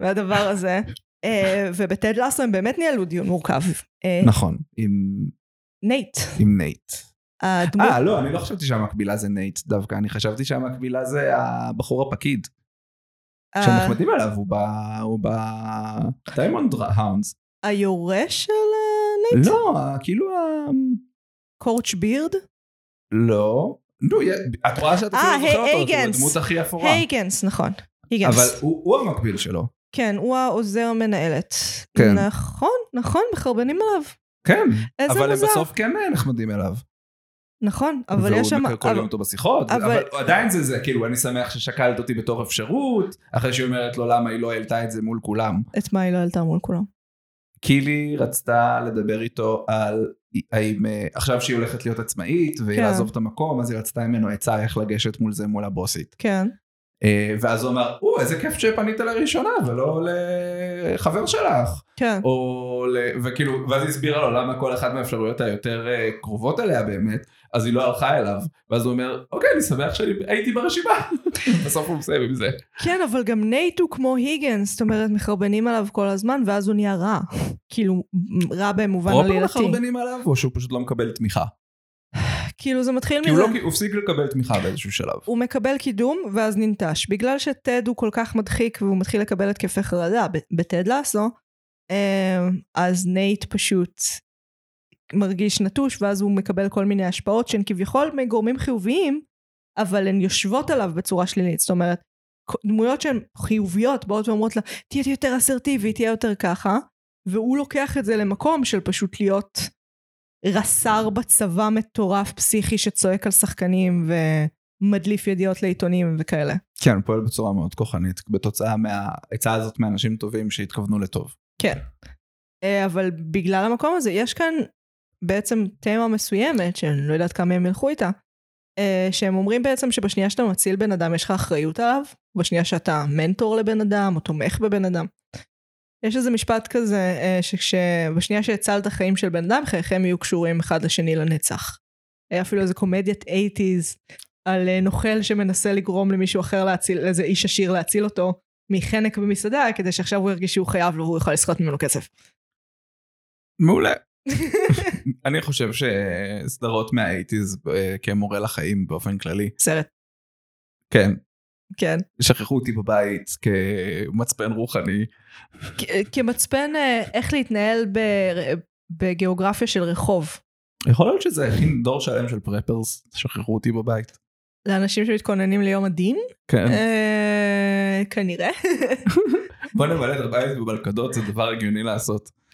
Speaker 1: מהדבר הזה. אה, ובטד לאסו הם באמת ניהלו דיון מורכב. אה,
Speaker 2: נכון, עם,
Speaker 1: נייט,
Speaker 2: עם נייט.
Speaker 1: הדמות
Speaker 2: אה, לא, אני לא חשבתי שהמקבילה זה נייט דווקא, אני חשבתי שהמקבילה זה הבחור הפקיד,
Speaker 1: ה-
Speaker 2: אה, שהם נחמדים עליו, הוא ב... הוא ב... דיימונד האונדס.
Speaker 1: היורש של אה, נייט,
Speaker 2: לא, ה- כאילו ה...
Speaker 1: קורץ' בירד,
Speaker 2: לא. נו, יה- את רואה שאת
Speaker 1: אה,
Speaker 2: אפילו
Speaker 1: היי,
Speaker 2: זוכרת אותו,
Speaker 1: היגנס.
Speaker 2: זו הדמות הכי אפורה.
Speaker 1: הייגנס, נכון, היגנס,
Speaker 2: אבל הוא הוא המקביל שלו.
Speaker 1: כן, הוא העוזר מנהלת,
Speaker 2: כן.
Speaker 1: נכון, נכון, מחרבנים עליו,
Speaker 2: כן.
Speaker 1: איזה
Speaker 2: אבל הם
Speaker 1: מוזר.
Speaker 2: בסוף כן נחמדים אליו.
Speaker 1: נכון, אבל יש שם,
Speaker 2: והוא כל
Speaker 1: אבל-
Speaker 2: יום אותו בשיחות.
Speaker 1: אבל-
Speaker 2: אבל עדיין זה זה, כאילו, אני שמח ששקלת אותי בתור אפשרות, אחרי שהיא אומרת לו למה היא לא העלתה את זה מול כולם.
Speaker 1: את מה היא לא העלתה מול כולם,
Speaker 2: קילי רצתה לדבר איתו על האם אה, עכשיו שהיא הולכת להיות עצמאית, והיא
Speaker 1: כן.
Speaker 2: לעזוב את המקום, אז היא רצתה ממנו עצה איך לגשת מול זה מול הבוסית.
Speaker 1: כן,
Speaker 2: אה, ואז הוא אמר, או, איזה כיף שפנית לראשונה ולא לחבר שלך.
Speaker 1: כן,
Speaker 2: או, ל- וכאילו, ואז היא הסבירה לו למה כל אחת מהאפשרויות היותר אה, קרובות אליה באמת, אז היא לא הלכה אליו. ואז הוא אומר, אוקיי, אני שמח שהייתי ברשימה. בסוף הוא מסיים עם זה.
Speaker 1: כן, אבל גם נייט הוא כמו היגנס, זאת אומרת, מחרבנים עליו כל הזמן, ואז הוא נהיה רע, כאילו, רע במובן
Speaker 2: פרופר
Speaker 1: עלילתי,
Speaker 2: מחרבנים עליו, או שהוא פשוט לא מקבל תמיכה?
Speaker 1: כאילו זה מתחיל
Speaker 2: כי הוא
Speaker 1: מזה,
Speaker 2: לא- הוא הפסיק לקבל תמיכה באיזשהו שלב.
Speaker 1: הוא מקבל קידום ואז ננטש. בגלל שטד הוא כל כך מדחיק והוא מתחיל לקבל התקפי חרדה ב- בטד לאסו, אה, אז נייט פשוט מרגיש נטוש ואז הוא מקבל כל מיני השפעות שהן כביכול מגורמים חיוביים, אבל הן יושבות עליו בצורה שלילית. זאת אומרת, כ- דמויות שהן חיוביות באות ואומרות לה, תהיה יותר אסרטיבי, תהיה יותר ככה, והוא לוקח את זה למקום של פשוט להיות רס"ר בצבא מטורף פסיכי שצועק על שחקנים ומדליף ידיעות לעיתונים וכאלה.
Speaker 2: כן, הוא פועל בצורה מאוד כוחנית, בתוצאה מהעצה הזאת מאנשים טובים שהתכוונו לטוב.
Speaker 1: כן. אה, אבל בגלל המקום הזה, יש כאן בעצם תמה מסוימת, שאני לא יודעת כמה הם ילכו איתה, אה, שהם אומרים בעצם שבשנייה שאתה מציל בן אדם, יש לך אחריות עליו, בשנייה שאתה מנטור לבן אדם, או תומך בבן אדם. יש איזה משפט כזה, אה, שבשנייה שהצלת חיים של בן אדם, חייכם יהיו קשורים אחד לשני לנצח. היה אפילו איזה קומדיית 80's על אה, נוכל שמנסה לגרום למישהו אחר להציל, איזה איש עשיר להציל אותו מחנק במסעדה, כדי שעכשיו הוא ירגיש שהוא חייב לו והוא יוכל לסחוט ממנו כסף.
Speaker 2: מעולה. אני חושב שסדרות מהאייטיז כמורה לחיים באופן כללי,
Speaker 1: סרט,
Speaker 2: כן,
Speaker 1: כן.
Speaker 2: שכחו אותי בבית כמצפן רוחני.
Speaker 1: כ- כמצפן אה, איך להתנהל ב- בגיאוגרפיה של רחוב,
Speaker 2: יכול להיות שזה הכין דור שלם של פרפרס, שכחו אותי בבית.
Speaker 1: לאנשים שמתכוננים ליום הדין,
Speaker 2: כן.
Speaker 1: אה, כנראה.
Speaker 2: בוא נמלא את הבית בבלקדות, זה דבר הגיוני לעשות.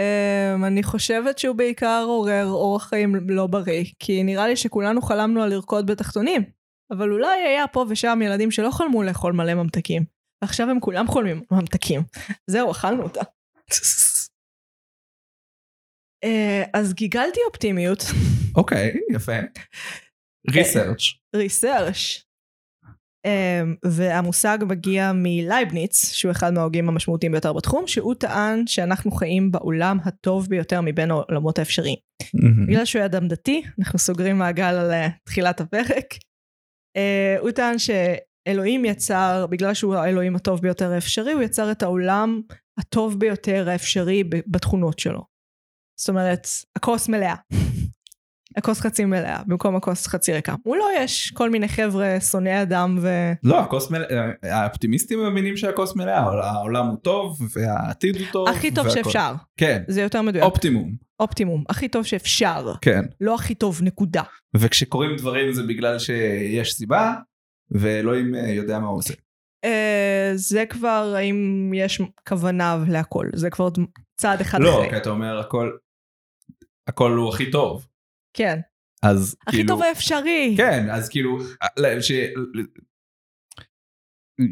Speaker 1: אמ, אני חושבת שהוא בעיקר עורר אורח חיים לא בריא, כי נראה לי שכולנו חלמנו על לרקוד בתחתונים, אבל אולי היה פה ושם ילדים שלא חלמו לאכול מלא ממתקים, ועכשיו הם כולם חולמים על ממתקים. זהו, אכלנו אותה. אה, אז גיגלתי אופטימיות,
Speaker 2: אוקיי, יפה.
Speaker 1: כן.
Speaker 2: ריסרצ'
Speaker 1: ריסרש. אמ, והמושג מגיע מלייבניץ, שהוא אחד מההוגים המשמעותיים ביותר בתחום, שהוא טען שאנחנו חיים בעולם הטוב ביותר מבין העולמות האפשריים. בגלל שהוא היה אדם דתי, אנחנו סוגרים מעגל על אה, תחילת הפרק. אה, הוא טען שאלוהים יצר, בגלל שהוא האלוהים הטוב ביותר האפשרי, הוא יצר את העולם הטוב ביותר האפשרי ב- בתכונות שלו. זאת אומרת, הכוס מלאה. הכוס חצי מלאה, במקום הכוס חצי ריקה. מולו יש כל מיני חבר'ה שונאי אדם ו...
Speaker 2: לא, הכוס מלאה, האופטימיסטים מבינים שהכוס מלאה, אבל העולם הוא טוב, והעתיד הוא טוב.
Speaker 1: הכי טוב
Speaker 2: והכל.
Speaker 1: שאפשר.
Speaker 2: כן,
Speaker 1: זה יותר מדויק.
Speaker 2: אופטימום,
Speaker 1: אופטימום. הכי טוב שאפשר.
Speaker 2: כן.
Speaker 1: לא הכי טוב, נקודה.
Speaker 2: וכשקורים דברים זה בגלל שיש סיבה, ואלוהים אה, יודע מה הוא עושה.
Speaker 1: אה, זה כבר האם יש כוונה להכל, זה כבר צעד אחד
Speaker 2: לא,
Speaker 1: אחרי.
Speaker 2: כי אתה אומר הכל, הכל הוא הכי טוב.
Speaker 1: כן.
Speaker 2: אז
Speaker 1: הכי
Speaker 2: כאילו...
Speaker 1: טוב האפשרי.
Speaker 2: כן, אז כאילו, ל- ש...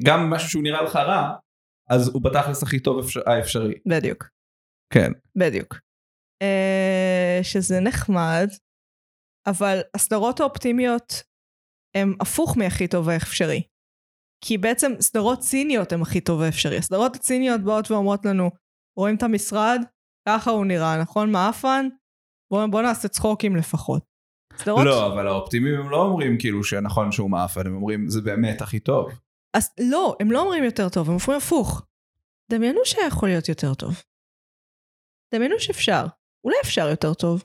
Speaker 2: גם משהו שהוא נראה לך רע, אז הוא בתכלס הכי טוב אפשר- אה, האפשרי.
Speaker 1: בדיוק,
Speaker 2: כן.
Speaker 1: בדיוק. אה, שזה נחמד, אבל הסדרות האופטימיות הן הפוך מהכי טוב האפשרי. כי בעצם סדרות ציניות הן הכי טוב האפשרי. הסדרות הציניות באות ואומרות לנו, רואים את המשרד? ככה הוא נראה, נכון? מעפן? בוא, בוא נעשה צחוקים לפחות. סדרות
Speaker 2: לא, אבל האופטימים הם לא אומרים כאילו שנכון שהוא מאפן, הם אומרים זה באמת הכי טוב.
Speaker 1: אז לא, הם לא אומרים יותר טוב, הם אומרים הפוך. דמיינו שהיה יכול להיות יותר טוב. דמיינו שאפשר. אולי אפשר יותר טוב.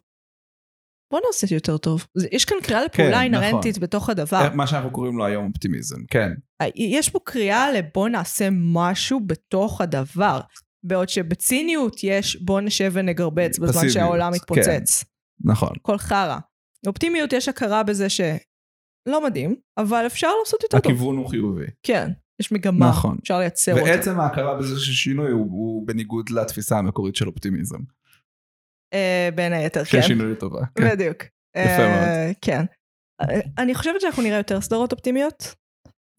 Speaker 1: בוא נעשה יותר טוב. זה- יש כאן קריאה
Speaker 2: נכון. אה,
Speaker 1: לפעולה אינהרנטית בתוך הדבר. אה,
Speaker 2: מה שאנחנו קוראים לו היום אופטימיזם, כן.
Speaker 1: יש פה קריאה לבוא נעשה משהו בתוך הדבר. בעוד שבציניות יש בוא נשב ונגרבץ בזמן
Speaker 2: פסיביות,
Speaker 1: שהעולם
Speaker 2: כן.
Speaker 1: מתפוצץ.
Speaker 2: נכון.
Speaker 1: הכל חרא. אופטימיות יש הכרה בזה שלא מדהים, אבל אפשר לעשות יותר טוב.
Speaker 2: הכיוון הוא חיובי.
Speaker 1: כן, יש מגמה,
Speaker 2: נכון.
Speaker 1: אפשר לייצר אותה.
Speaker 2: ועצם ההכרה בזה ששינוי הוא- הוא בניגוד לתפיסה המקורית של אופטימיזם.
Speaker 1: אה, בין היתר, כן.
Speaker 2: ששינוי לטובה. כן.
Speaker 1: בדיוק.
Speaker 2: יפה
Speaker 1: אה, כן. אה, אני חושבת שאנחנו נראה יותר סדרות אופטימיות.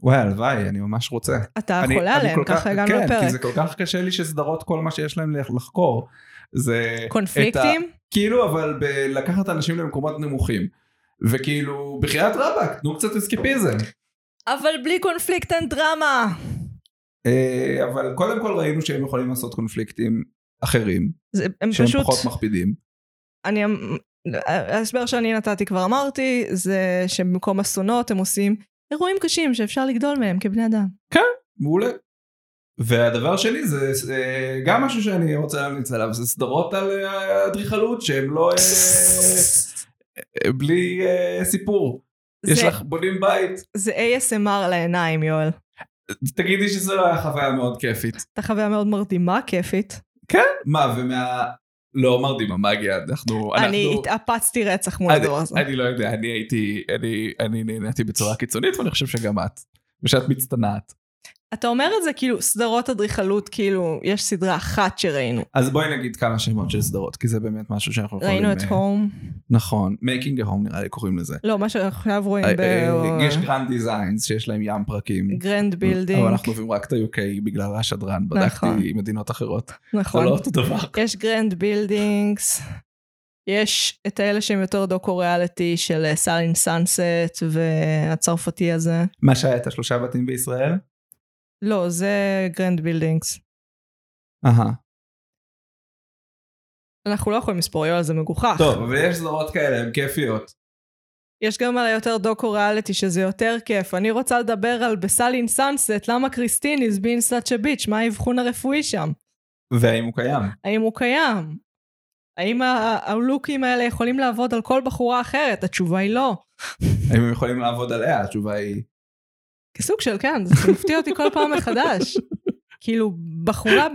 Speaker 2: וואי, הלוואי, אני ממש רוצה.
Speaker 1: אתה
Speaker 2: אני-
Speaker 1: חולה
Speaker 2: אני
Speaker 1: עליהם,
Speaker 2: כל כך-
Speaker 1: ככה הגענו
Speaker 2: כן, כי זה
Speaker 1: לפרק.
Speaker 2: כל כך קשה לי שסדרות כל מה שיש להם לח- לחקור. זה... את
Speaker 1: קונפליקטים?
Speaker 2: ה- כאילו, אבל בלקחת אנשים למקומות נמוכים. וכאילו, בחייאת רבאק, תנו קצת אסקיפיזם.
Speaker 1: אבל בלי קונפליקט אין דרמה.
Speaker 2: אה, אבל קודם כל ראינו שהם יכולים לעשות קונפליקטים אחרים,
Speaker 1: זה- הם
Speaker 2: שהם
Speaker 1: פשוט...
Speaker 2: פחות מכבידים.
Speaker 1: אני... אמ- ההסבר שאני נתתי כבר אמרתי, זה שבמקום אסונות הם עושים אירועים קשים שאפשר לגדול מהם כבני אדם.
Speaker 2: מעולה. והדבר השני זה אה, גם משהו שאני רוצה להמליץ עליו, זה סדרות על אה, אדריכלות שהם לא... אה, בלי אה, סיפור. יש
Speaker 1: זה-
Speaker 2: לך בונים בית,
Speaker 1: זה ASMR לעיניים, יואל.
Speaker 2: תגידי שזה לא היה חוויה מאוד כיפית.
Speaker 1: הייתה חוויה מאוד מרדימה, כיפית.
Speaker 2: מה, ומה... לא אמרתי מה מגיה, אנחנו...
Speaker 1: אני
Speaker 2: אנחנו-
Speaker 1: התאפצתי רצח מול
Speaker 2: אני-
Speaker 1: הדבר הזה.
Speaker 2: אני לא יודע, אני הייתי... אני- אני נהניתי בצורה קיצונית, ואני חושב שגם את. ושאת מצטנעת.
Speaker 1: אתה אומר את זה כאילו סדרות אדריכלות כאילו יש סדרה אחת שראינו
Speaker 2: אז בואי נגיד כמה שמות של סדרות, כי זה באמת משהו שאנחנו יכולים...
Speaker 1: ראינו את
Speaker 2: אה,
Speaker 1: הום
Speaker 2: נכון, Making a Home נראה לי קוראים לזה.
Speaker 1: לא מה שעכשיו רואים
Speaker 2: אה,
Speaker 1: ב-
Speaker 2: אה, יש גרנד דיזיינס שיש להם ים פרקים.
Speaker 1: גרנד
Speaker 2: אבל
Speaker 1: בילדינג
Speaker 2: אנחנו עוברים רק את ה-UK בגלל השדרן, בדקתי
Speaker 1: נכון.
Speaker 2: עם מדינות אחרות. זה
Speaker 1: נכון
Speaker 2: לא אותו דבר.
Speaker 1: יש גרנד בילדינגס יש את האלה שהם יותר דוקו ריאליטי של אה, סאלין סאנסט והצרפתי הזה
Speaker 2: מה שהיה את השלושה בתים בישראל?
Speaker 1: לא זה גרנד בילדינגס
Speaker 2: אהה.
Speaker 1: אנחנו לא יכולים לספור יואל זה מגוחך
Speaker 2: טוב, אבל יש סדרות כאלה, הן כיפיות.
Speaker 1: יש גם על היותר דוקו ריאליטי שזה יותר כיף. אני רוצה לדבר על בסאלין סאנסט, למה קריסטין is being such a bitch, מה האבחון הרפואי שם?
Speaker 2: והאם הוא קיים?
Speaker 1: האם הוא קיים? האם ה-
Speaker 2: אה.
Speaker 1: הלוקים האלה יכולים לעבוד על כל בחורה אחרת? התשובה היא לא.
Speaker 2: האם הם יכולים לעבוד עליה? התשובה היא...
Speaker 1: כסוג של כן, זה מפתיע אותי כל פעם מחדש. כאילו, בחורה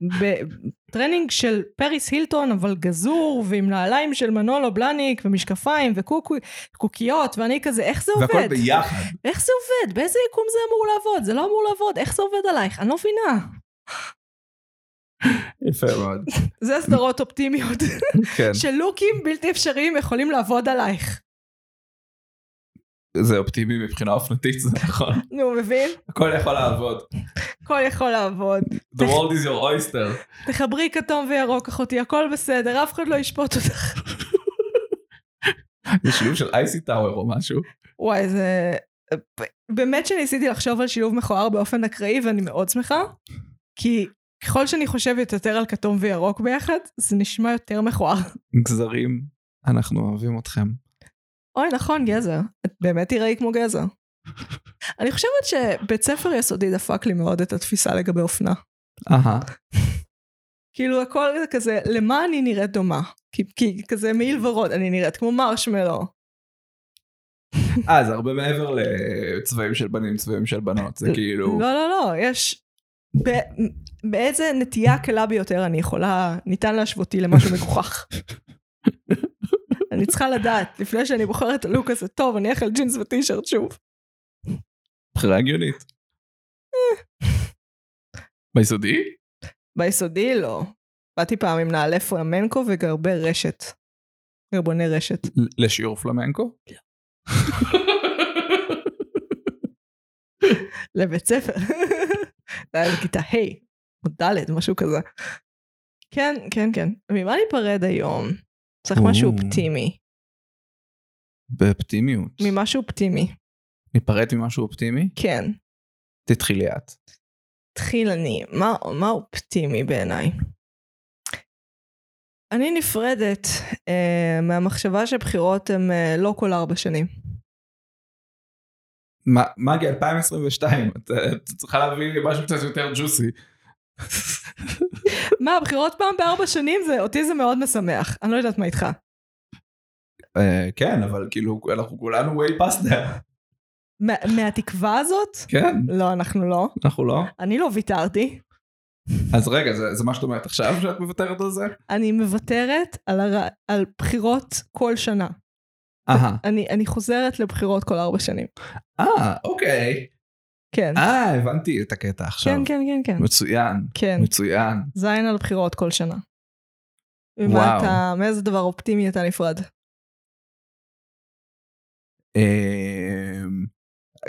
Speaker 1: בטרנינג של פריס הילטון, אבל גזור, ועם נעליים של מנולו בלניק, ומשקפיים, וקוקיות, ואני כזה, איך זה
Speaker 2: והכל
Speaker 1: עובד?
Speaker 2: ביחד.
Speaker 1: איך זה עובד? באיזה יקום זה אמור לעבוד? זה לא אמור לעבוד, איך זה עובד עלייך? אני לא מבינה.
Speaker 2: יפה מאוד.
Speaker 1: זה הסדרות אופטימיות,
Speaker 2: כן.
Speaker 1: שלוקים בלתי אפשריים יכולים לעבוד עלייך.
Speaker 2: זה אופטימי מבחינה אופנתית, זה נכון.
Speaker 1: נו, מבין?
Speaker 2: הכל יכול לעבוד.
Speaker 1: הכל יכול לעבוד.
Speaker 2: The world is your oyster.
Speaker 1: תחברי כתום וירוק, אחותי, הכל בסדר, אף אחד לא ישפוט אותך.
Speaker 2: זה שילוב של אייסי טאוור או משהו.
Speaker 1: וואי, זה... באמת שניסיתי לחשוב על שילוב מכוער באופן אקראי, ואני מאוד שמחה, כי ככל שאני חושבת יותר על כתום וירוק ביחד, זה נשמע יותר מכוער.
Speaker 2: גזרים, אנחנו אוהבים אתכם.
Speaker 1: אוי, נכון, גזע. את באמת תיראי כמו גזע. אני חושבת שבית ספר יסודי דפק לי מאוד את התפיסה לגבי אופנה.
Speaker 2: אהה.
Speaker 1: כאילו הכל זה כזה, למה אני נראית דומה? כי, כי כזה מעיל ורוד, אני נראית כמו מרשמלו.
Speaker 2: אה, זה הרבה מעבר לצבעים של בנים, צבעים של בנות. זה כאילו...
Speaker 1: לא, לא, לא, יש... ב... באיזה נטייה קלה ביותר אני יכולה, ניתן להשוות אותי למשהו מגוחך. אני צריכה לדעת, לפני שאני בוחרת את הלוק הזה, טוב, אני אלך על ג'ינס וטישרט שוב.
Speaker 2: בחירה הגיונית. אה. ביסודי?
Speaker 1: ביסודי לא. באתי פעם עם נעלי פרמנקו וגרבי רשת. גרבוני רשת.
Speaker 2: ל- לשיעור פלמנקו?
Speaker 1: לבית ספר. זה היה בכיתה ה' או ד', משהו כזה. כן, כן, כן. ממה ניפרד היום? צריך
Speaker 2: או.
Speaker 1: משהו אופטימי.
Speaker 2: באופטימיות.
Speaker 1: ממשהו אופטימי,
Speaker 2: ניפרט ממשהו אופטימי?
Speaker 1: כן.
Speaker 2: תתחילי את.
Speaker 1: תתחיל אני. מה, מה אופטימי בעיניי? אני נפרדת אה, מהמחשבה שבחירות הן אה, לא כל ארבע שנים.
Speaker 2: מה- מגי 2022, את את צריכה להביא לי משהו קצת יותר ג'וסי.
Speaker 1: מה, הבחירות פעם בארבע שנים? זה, אותי זה מאוד משמח. אני לא יודעת מה איתך.
Speaker 2: אה, כן, אבל כאילו, אנחנו כולנו way past there.
Speaker 1: מה- מהתקווה הזאת?
Speaker 2: כן,
Speaker 1: לא, אנחנו לא.
Speaker 2: אנחנו לא.
Speaker 1: אני לא ויתרתי.
Speaker 2: אז רגע, זה זה מה שאת אומרת עכשיו שאת מוותרת על זה?
Speaker 1: אני מוותרת על, הר... על בחירות כל שנה.
Speaker 2: אהה.
Speaker 1: אני, אני חוזרת לבחירות כל ארבע שנים.
Speaker 2: אה, אוקיי.
Speaker 1: כן.
Speaker 2: אה, הבנתי את הקטע עכשיו.
Speaker 1: כן, כן, כן, כן.
Speaker 2: מצוין,
Speaker 1: כן.
Speaker 2: מצוין.
Speaker 1: זין על בחירות כל שנה. ומה
Speaker 2: וואו.
Speaker 1: אתה, מאיזה דבר אופטימי אתה נפרד?
Speaker 2: אמ,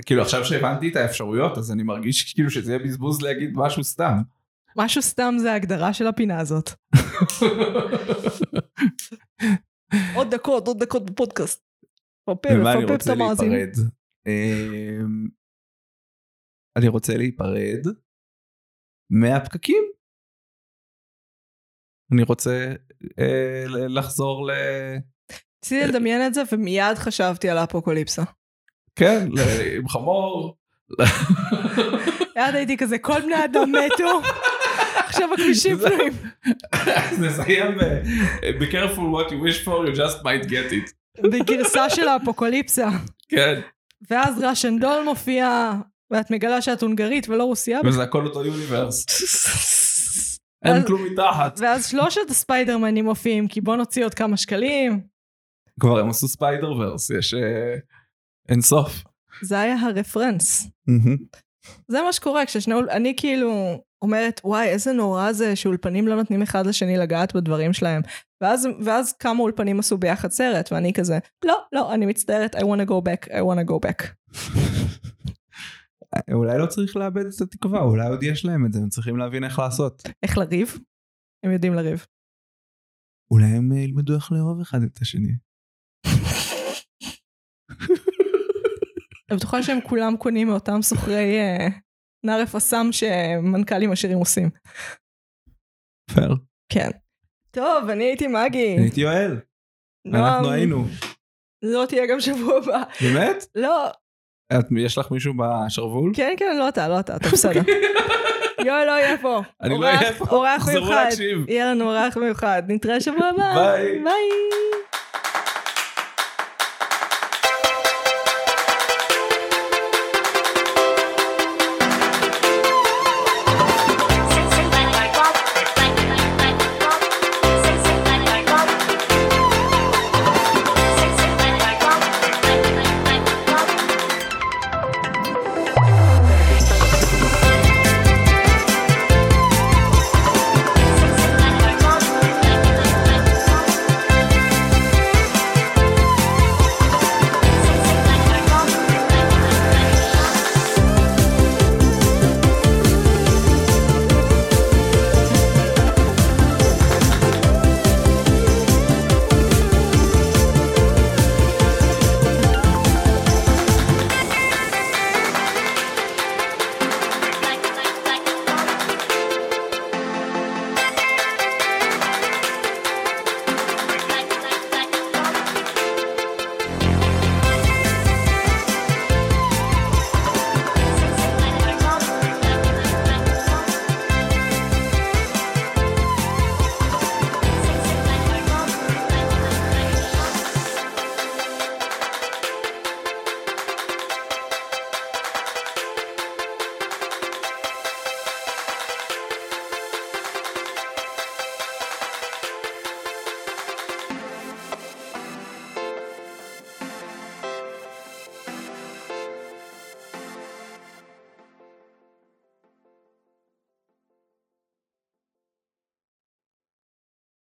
Speaker 2: כאילו עכשיו שהבנתי את האפשרויות אז אני מרגיש כאילו שזה יהיה בזבוז להגיד משהו סתם.
Speaker 1: משהו סתם זה ההגדרה של הפינה הזאת. עוד דקות, עוד דקות בפודקאסט. פרפר,
Speaker 2: ממה אני
Speaker 1: פרפר את
Speaker 2: רוצה
Speaker 1: המאזין.
Speaker 2: להיפרד? אמ, אני רוצה להיפרד מהפקקים. אני רוצה אה, ל- לחזור ל...
Speaker 1: רציתי לדמיין את זה ומיד חשבתי על האפוקוליפסה.
Speaker 2: כן, ל- עם חמור.
Speaker 1: מיד הייתי כזה, כל בני אדם מתו, עכשיו הכבישים
Speaker 2: זה-
Speaker 1: פנויים.
Speaker 2: נסיים ב... Be careful what you wish for, you just might get it.
Speaker 1: בגרסה של האפוקוליפסה.
Speaker 2: כן.
Speaker 1: ואז ראשנדול מופיע, ואת מגלה שאת הונגרית ולא רוסייה.
Speaker 2: וזה הכל אותו יוניברס. אין כלום מתחת.
Speaker 1: ואז שלושת הספיידרמנים מופיעים, כי בוא נוציא עוד כמה שקלים.
Speaker 2: כבר הם עשו ספיידר ורס, יש אה, אין סוף.
Speaker 1: זה היה הרפרנס. זה מה שקורה כששני... אול- אני כאילו אומרת, וואי, איזה נורא זה שאולפנים לא נותנים אחד לשני לגעת בדברים שלהם. ואז, ואז כמה אולפנים עשו ביחד סרט, ואני כזה, לא, לא, אני מצטערת, I want to go back, I want to go back.
Speaker 2: אולי לא צריך לאבד את התקווה, אולי עוד יש להם את זה, הם צריכים להבין איך לעשות.
Speaker 1: איך לריב? הם יודעים לריב.
Speaker 2: אולי הם אה, ילמדו איך לאהוב אחד את השני.
Speaker 1: אני בטוחה שהם כולם קונים מאותם סוחרי אה, נערף אסם שמנכ"לים עשירים עושים.
Speaker 2: פייר.
Speaker 1: כן. טוב, אני הייתי מגי.
Speaker 2: אני הייתי יואל, אנחנו
Speaker 1: נועם,
Speaker 2: היינו.
Speaker 1: לא תהיה גם שבוע הבא.
Speaker 2: באמת?
Speaker 1: לא,
Speaker 2: את- יש לך מישהו בשרוול?
Speaker 1: כן, כן, לא אתה, לא אתה, אתה בסדר. יואל לא יהיה פה.
Speaker 2: אני לא
Speaker 1: אורח-
Speaker 2: אהיה פה.
Speaker 1: אורח
Speaker 2: תחזרו
Speaker 1: מיוחד.
Speaker 2: להקשיב.
Speaker 1: יהיה לנו אורח מיוחד. נתראה שבוע הבא.
Speaker 2: ביי.
Speaker 1: ביי.